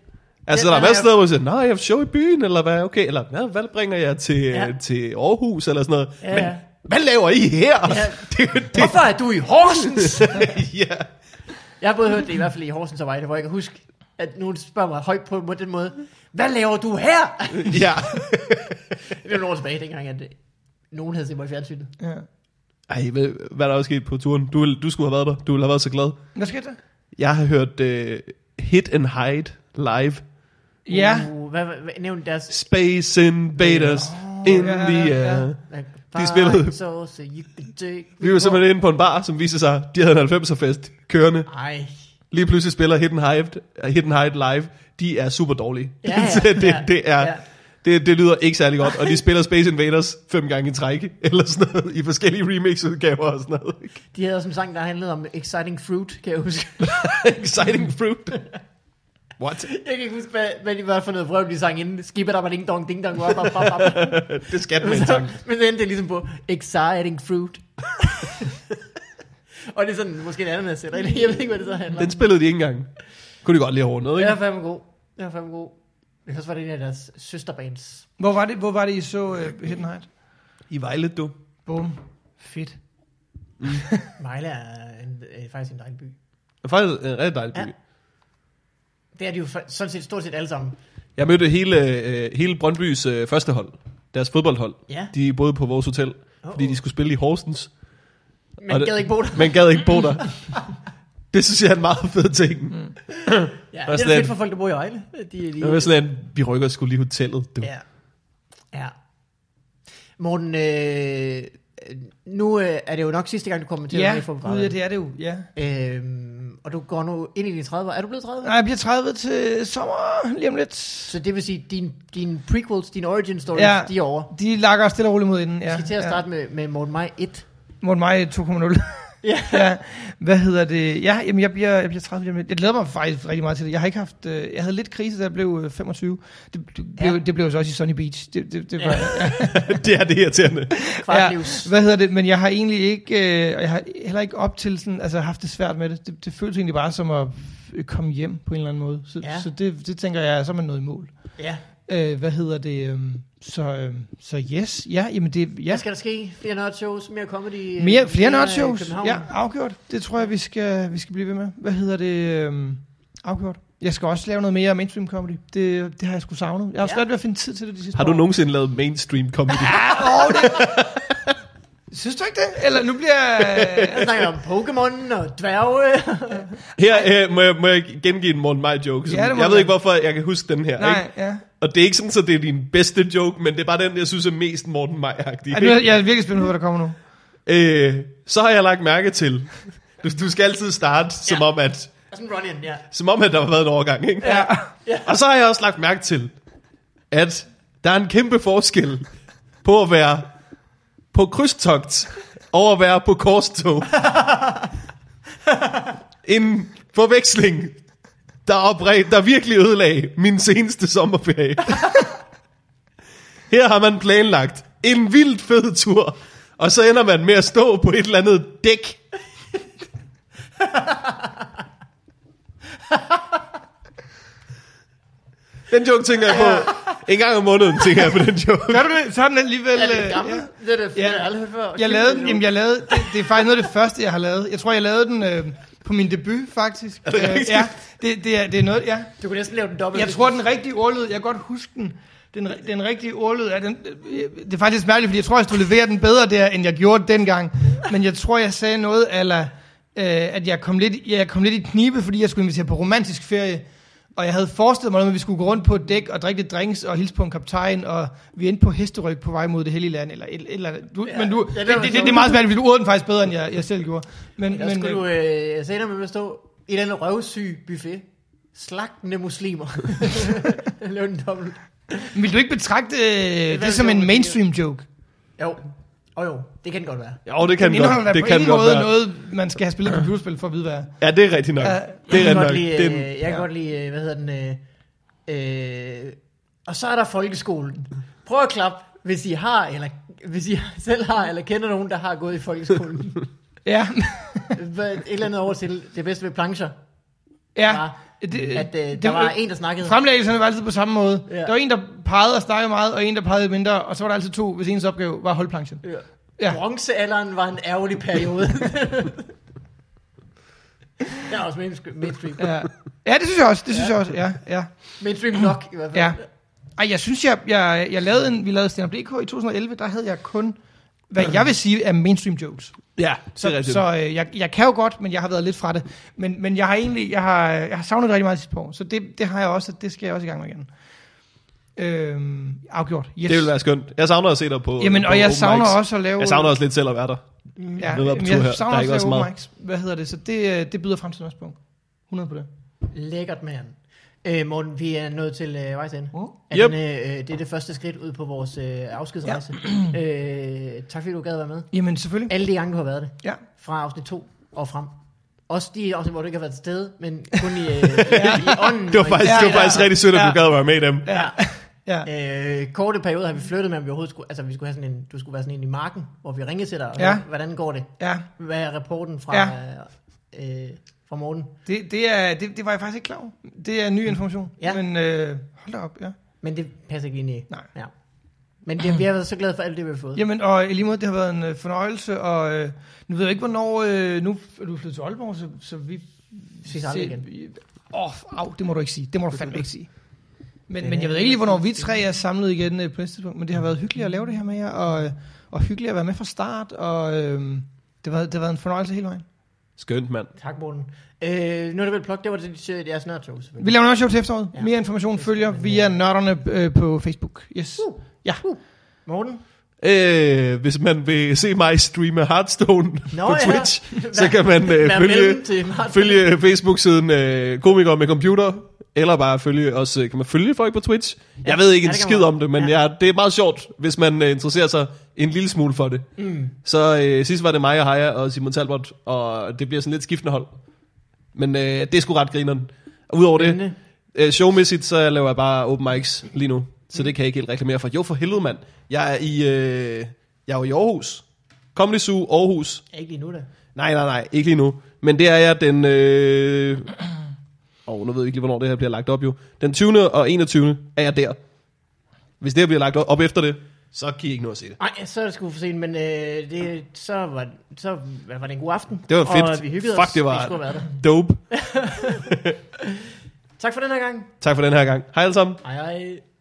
S1: Altså,
S3: Ja,
S1: der er masser af
S3: nej, jeg-
S1: steder, hvor du siger, nej, jeg har show i byen, eller hvad, okay, eller hvad, hvad bringer jeg til, ja.
S3: Ja.
S1: til Aarhus, eller sådan noget.
S3: Ja,
S1: Men
S3: ja.
S1: hvad laver I her? Ja.
S3: Ja.
S1: (laughs) Det, det,
S3: Hvorfor er du i Horsens? (laughs)
S1: (laughs) ja.
S3: Jeg har både hørt det i hvert fald i Horsens og Vejle, hvor jeg kan huske, at nogen spørger mig højt på den måde, hvad laver du her?
S1: ja.
S3: Det var nogle år tilbage dengang, at øh, nogen havde set mig i fjernsynet.
S2: ja.
S1: Ej, ved, hvad er der også sket på turen? Du, ville- du skulle have været der. Du ville have været så glad.
S2: Hvad skete der?
S1: Jeg har hørt uh, Hit and Hide live.
S2: Ja.
S3: Uh, hvad, hvad, hvad nævnte deres...
S1: Space Invaders oh, in
S2: ja,
S1: the
S2: ja,
S1: air.
S2: ja.
S1: De spillede-
S3: So, so you can take
S1: Vi var simpelthen inde på en bar, som viste sig, de havde en 90'er-fest kørende.
S3: Ej.
S1: Lige pludselig spiller Hidden Hide, Hidden Hide live. De er super dårlige. (laughs)
S3: Ja, ja,
S1: Så det,
S3: ja,
S1: det, er,
S3: ja.
S1: det, det lyder ikke særlig godt. Og de spiller Space Invaders fem gange i træk, eller sådan noget, i forskellige remix-udgaver og sådan noget. (laughs)
S3: De havde også en sang, der handlede om Exciting Fruit, kan jeg huske. (laughs)
S1: Exciting fruit.
S2: (laughs)
S1: What?
S3: jeg kan ikke huske, hvad, hvad det var for noget vrøvl, de sang inden. Skipper der var ding dong, ding dong, wop, wop, wop,
S1: (laughs)
S3: wop.
S1: Det skal den med en tanke.
S3: Men så endte det ligesom på Exciting Fruit. (laughs) og det er sådan, måske en anden, jeg sætter. Jeg ved ikke, hvad det så handler om.
S1: Den spillede de ikke engang. Kunne de godt lige have rundet,
S3: Den
S1: ikke?
S3: er fandme god. Den er fandme god. Det kan også være, det er en af deres søsterbands.
S2: Hvor var det, hvor var det I så uh, Hidden Height?
S1: I Vejle, du.
S2: Boom. Fedt.
S3: Vejle er en, øh, faktisk en dejlig by.
S1: Det er faktisk en rigtig dejlig by.
S3: Ja. Det er de jo fa- sådan set stort set alle sammen.
S1: Jeg mødte hele, øh, hele Brøndbys øh, første hold, deres fodboldhold.
S3: Ja.
S1: De boede på vores hotel, oh.
S3: Åh.
S1: fordi de skulle spille i Horsens. Og
S3: Men
S1: det-
S3: gad ikke bo der.
S1: Men gad ikke bo
S2: (laughs)
S1: der. det synes jeg er en meget fed ting. Mm.
S3: Ja,
S1: var
S3: det er da
S1: sådan
S3: fedt
S1: en-
S3: for folk, der bor i Vejle. De, de,
S1: Det var sådan, at vi rykker skulle lige hotellet. Du. Ja.
S3: Ja. Ja. Morten, øh, nu øh, er det jo nok sidste gang, du kommer til
S2: Ja,
S3: at være i Fodboldbrættet.
S2: gud, ja, det er det jo. Ja.
S3: Øhm, og du går nu ind i dine 30'er. Er du blevet 30?
S2: Nej, jeg bliver 30 til sommer lige om lidt.
S3: Så det vil sige, din, din prequels, din origin stories,
S2: Ja.
S3: ja. de er over.
S2: De lakker stille og roligt mod inden. Ja,
S3: Vi skal til at
S2: ja.
S3: starte med, med Morten Maj 1.
S2: Morten Maj 2.0.
S3: Ja.
S2: (laughs) ja. Hvad hedder det? Ja, jamen, jeg, bliver, jeg bliver 30 lige om lidt. Jeg glæder mig faktisk rigtig meget til det. Jeg har ikke haft... Øh, jeg havde lidt krise, da jeg blev øh, 25. Det, det,
S3: Ja.
S2: blev, det blev så også i Sunny Beach. Det, det, det var, (laughs) ja.
S1: (laughs) det er det irriterende.
S3: Kvartlivs.
S2: Hvad hedder det? Men jeg har egentlig ikke... Øh, og jeg har heller ikke op til sådan... Altså, haft det svært med det. det. Det føles egentlig bare som at øh, komme hjem på en eller anden måde. Så,
S3: Ja.
S2: så det, det tænker jeg, så er man nået i mål.
S3: Ja.
S2: Øh, hvad hedder det? Øh, så, øh, så yes. Ja, jamen det... Ja.
S3: Hvad skal der ske? Flere nerd shows, mere comedy. øh,
S2: Mere, flere
S3: i
S2: nørdeshows?
S3: København.
S2: Ja, afgjort. Det tror jeg, vi skal, vi skal blive ved med. Hvad hedder det? Øhm, afgjort. Jeg skal også lave noget mere mainstream comedy. Det, det har jeg sgu savnet. Jeg har
S3: Ja.
S2: svært ved at finde tid til det de sidste
S1: Har du
S2: år.
S1: nogensinde lavet mainstream comedy?
S2: Synes du ikke det? Eller nu bliver
S3: (laughs)
S2: jeg...
S3: Jeg snakker om Pokémon og dværge.
S2: (laughs)
S1: Her øh, må, jeg, må jeg gengive en Morten Maj joke. Som,
S2: Ja,
S1: ja,
S2: det
S1: jeg
S2: må
S1: ved
S2: du.
S1: ikke, hvorfor jeg kan huske den her.
S2: Nej,
S1: Ikke?
S2: ja.
S1: Og det er ikke sådan, at det er din bedste joke, men det er bare den, jeg synes er mest Morten Maj-agtig.
S2: Ej, nu, er- jeg er virkelig spændt på, hvad der kommer nu.
S1: Øh, så har jeg lagt mærke til, du, du skal altid starte, som, om, at,
S3: Sådan run in, ja.
S1: som om, at der har været en overgang, ikke?
S2: Ja.
S1: Og så har jeg også lagt mærke til, at der er en kæmpe forskel på at være på krydstogt og at være på korstog. En forveksling, der, opre- der virkelig ødelagde min seneste sommerferie. Her har man planlagt en vildt fed tur, og så ender man med at stå på et eller andet dæk. Den joke tænker jeg på. En gang om måneden tænker jeg på den joke.
S2: Gør du det? Så er den alligevel...
S3: Er det
S2: øh,
S3: gammel?
S2: ja.
S3: Det er det,
S2: Ja.
S3: jeg har aldrig hørt før.
S2: Jeg lavede den,
S3: Kæmpe
S2: jamen jeg lavede, det, det er faktisk noget af det første, jeg har lavet. Jeg tror, jeg lavede den øh, på min debut, faktisk. Øh,
S1: rigtigt?
S2: ja, det, det, er, det er noget, ja.
S3: joke. Du kunne næsten lave den dobbelt.
S2: Jeg tror, den rigtige ordlyd, jeg kan godt huske den. Den, ri- den rigtige ordlyd er den... øh, Det er faktisk mærkeligt, fordi jeg tror, jeg skulle levere den bedre der, end jeg gjorde dengang. Men jeg tror, jeg sagde noget, eller øh, at jeg kom, lidt, ja, jeg kom lidt i knibe, fordi jeg skulle invitere på romantisk ferie. Og jeg havde forestillet mig, noget med, at vi skulle gå rundt på et dæk og drikke lidt drinks og hilse på en kaptajn, og vi endte på hesteryg på vej mod det hellige land. Eller et, et eller andet. Du, ja, men du,
S3: ja,
S2: det,
S3: det
S2: det,
S3: var
S2: det, det,
S3: sjovt.
S2: er meget svært, fordi du ordede den faktisk bedre, end jeg, jeg selv gjorde. Men,
S3: Der
S2: men,
S3: skulle
S2: øh,
S3: du øh, senere med at stå et eller andet røvsyg buffet. Slagtende muslimer. (laughs) Lav den dobbelt.
S2: Vil du ikke betragte øh,
S3: være
S2: det som
S3: sjovt,
S2: en
S3: fordi-
S2: mainstream joke?
S3: Jo. Og jo, det kan det godt være.
S1: Jo, det kan
S2: Den indeholder
S1: godt,
S2: da
S1: det
S2: på
S1: kan
S2: ingen
S1: godt
S2: måde
S1: være.
S2: noget, man skal have spillet computerspil for at vide, hvad er.
S1: Ja, det er rigtigt nok.
S2: Ja,
S1: det er
S3: Jeg kan
S1: rigtigt
S3: godt
S1: nok.
S3: lide,
S1: Den,
S3: øh, jeg kan godt lide, øh, hvad hedder den, øh, øh, og så er der folkeskolen. Prøv at klappe, hvis I har, eller hvis I (laughs) selv har, eller kender nogen, der har gået i folkeskolen.
S2: Ja, (laughs)
S3: Hvad- Et eller andet over til det bedste ved plancher,
S2: ja.
S3: var, at øh, der var en, der snakkede.
S2: Fremlæggelserne var altid på samme måde.
S3: Ja.
S2: Ja. Der var en, der pegede og snakkede meget, og en, der pegede mindre, og så var der altid to, hvis ens opgave var holdplanchen.
S3: Ja.
S2: Ja.
S3: Bronzealderen var en ærgerlig
S1: (laughs)
S3: periode. Det er også mainstream. mainstream.
S2: Ja. ja, det synes jeg også, det synes ja. jeg også, ja, ja.
S3: Mainstream nok i hvert fald.
S2: Ja. Ej, jeg synes, jeg, jeg, jeg lavede en, vi lavede Stand Up DK i 2011, der havde jeg kun, hvad jeg vil sige, er mainstream jokes.
S1: ja, det er
S2: Så,
S1: rigtigt.
S2: så øh, jeg, jeg kan jo godt, men jeg har været lidt fra det. Men, men jeg har egentlig, jeg har, jeg har savnet det rigtig meget sidste år, så det, det har jeg også, og det skal jeg også i gang med igen. Øhm, afgjort. Yes.
S1: Det ville være skønt. Jeg savner at se dig på øh,
S2: Jamen,
S1: på
S2: og jeg
S1: open
S2: savner
S1: mics.
S2: også at lave...
S1: Jeg savner også lidt selv at være der.
S2: ja,
S1: noget op
S2: jamen,
S1: tur her.
S2: jeg
S1: Der
S2: savner
S1: er
S2: også
S1: ikke
S2: at
S1: også
S2: lave
S1: meget.
S2: open mics. Hvad hedder det? Så det, øh, det byder fremtiden også på. 100 på det.
S3: Lækkert, mand. Øh, Morten, vi er nået til øh, vejs ende.
S2: Mm.
S3: Er
S1: Yep.
S3: den, øh, øh, det er det første skridt ud på vores øh, afskedsrejse. Ja. øh, tak fordi du gad være med.
S2: Jamen, selvfølgelig.
S3: Alle de gange, du har været det.
S2: Ja.
S3: Fra afsnit 2 og frem. Også de afsnit, hvor du ikke har været til stede, men kun
S1: (laughs)
S3: i, øh, i, i ånden.
S1: Det var
S3: og i-
S1: faktisk,
S2: Ja,
S1: det var
S2: ja,
S1: faktisk rigtig sødt, at
S2: ja.
S1: du gad være med i dem.
S2: Ja. (laughs) Ja.
S3: Øh, korte periode har vi flyttet med, om vi overhovedet skulle, altså vi skulle have sådan en, du skulle være sådan en i marken, hvor vi ringede til dig, og
S2: Ja.
S3: hørte, hvordan går det?
S2: ja.
S3: Hvad er rapporten fra,
S2: Ja.
S3: øh, øh, fra Morten?
S2: Det, det, er, det, det var jeg faktisk ikke klar over. Det er ny information.
S3: Ja.
S2: Men øh, hold da op, ja.
S3: Men det passer ikke lige ind i.
S2: Nej.
S3: Ja. Men det, vi har været så glade for alt det, vi har fået.
S2: Jamen, og i lige måde, det har været en øh, fornøjelse, og øh, nu ved jeg ikke, hvornår... Øh, nu er du flyttet til Aalborg, så, så vi...
S3: Ses aldrig igen.
S2: Åh, oh, au, det må du ikke sige. Det må du fandme ikke sige. Men, men jeg ved ikke lige, hvornår vi tre er samlet igen øh, på næste tidspunkt, men det har været hyggeligt at lave det her med jer, og, øh, og hyggeligt at være med fra start, og øh, det, var, det har været en fornøjelse hele vejen.
S1: Skønt, mand.
S3: Tak, Morten. Øh, nu er det vel pluk, det var det, det jeres nørdshow,
S2: Vi
S3: selvfølgelig.
S2: laver en show til efteråret.
S3: Ja.
S2: Ja. Mere information følger via nørderne øh, på Facebook. Yes.
S3: Uh.
S2: Ja.
S3: Morten?
S1: Øh, hvis man vil se mig streame Hearthstone
S3: Nå,
S1: Nå, på
S3: ja.
S2: (laughs)
S1: Twitch, så kan man øh,
S3: Vær
S1: følge,
S3: mellem til Martin.
S1: (laughs) følge Facebook-siden øh, Komiker med Computer, eller bare følge os. øh, Kan man følge folk på Twitch? Ja, jeg ved ikke
S3: ja,
S1: en
S3: det kan
S1: skid
S3: man.
S1: om det, men
S3: Ja.
S1: ja. jeg, det er meget sjovt, hvis man øh, interesserer sig en lille smule for det. Mm. Så øh, sidst var det mig og Haya og Simon Talbot, og det bliver sådan lidt skiftende hold. Men øh, det er sgu ret grineren. Og Udover det,
S3: Spændende.
S1: øh, showmæssigt, så laver jeg bare open mics lige nu. Så
S3: Mm.
S1: det kan jeg ikke helt reklamere for. Jo, for helvede, mand. Jeg er i, øh, jeg er jo i Aarhus. Comedy Zoo Aarhus.
S3: Ja, ikke lige nu da.
S1: Nej, nej, nej, ikke lige nu. Men det er jeg den...
S3: (clears throat)
S1: Øh... Oh, nu ved jeg ikke lige, hvornår det her bliver lagt op jo. Den 20. og 21. er jeg der. Hvis det her bliver lagt op, op efter det, så kan I ikke nå at se det.
S3: Nej, så er det sgu for sent, men øh, det, så, var, så var det en god aften.
S1: Det var fedt.
S3: Og vi hyggede
S1: Fuck,
S3: os.
S1: det var-
S3: Vi skulle have været der.
S1: Dope.
S3: Tak for den her gang.
S1: Tak for den her gang. Hej alle sammen.
S3: Hej, hej.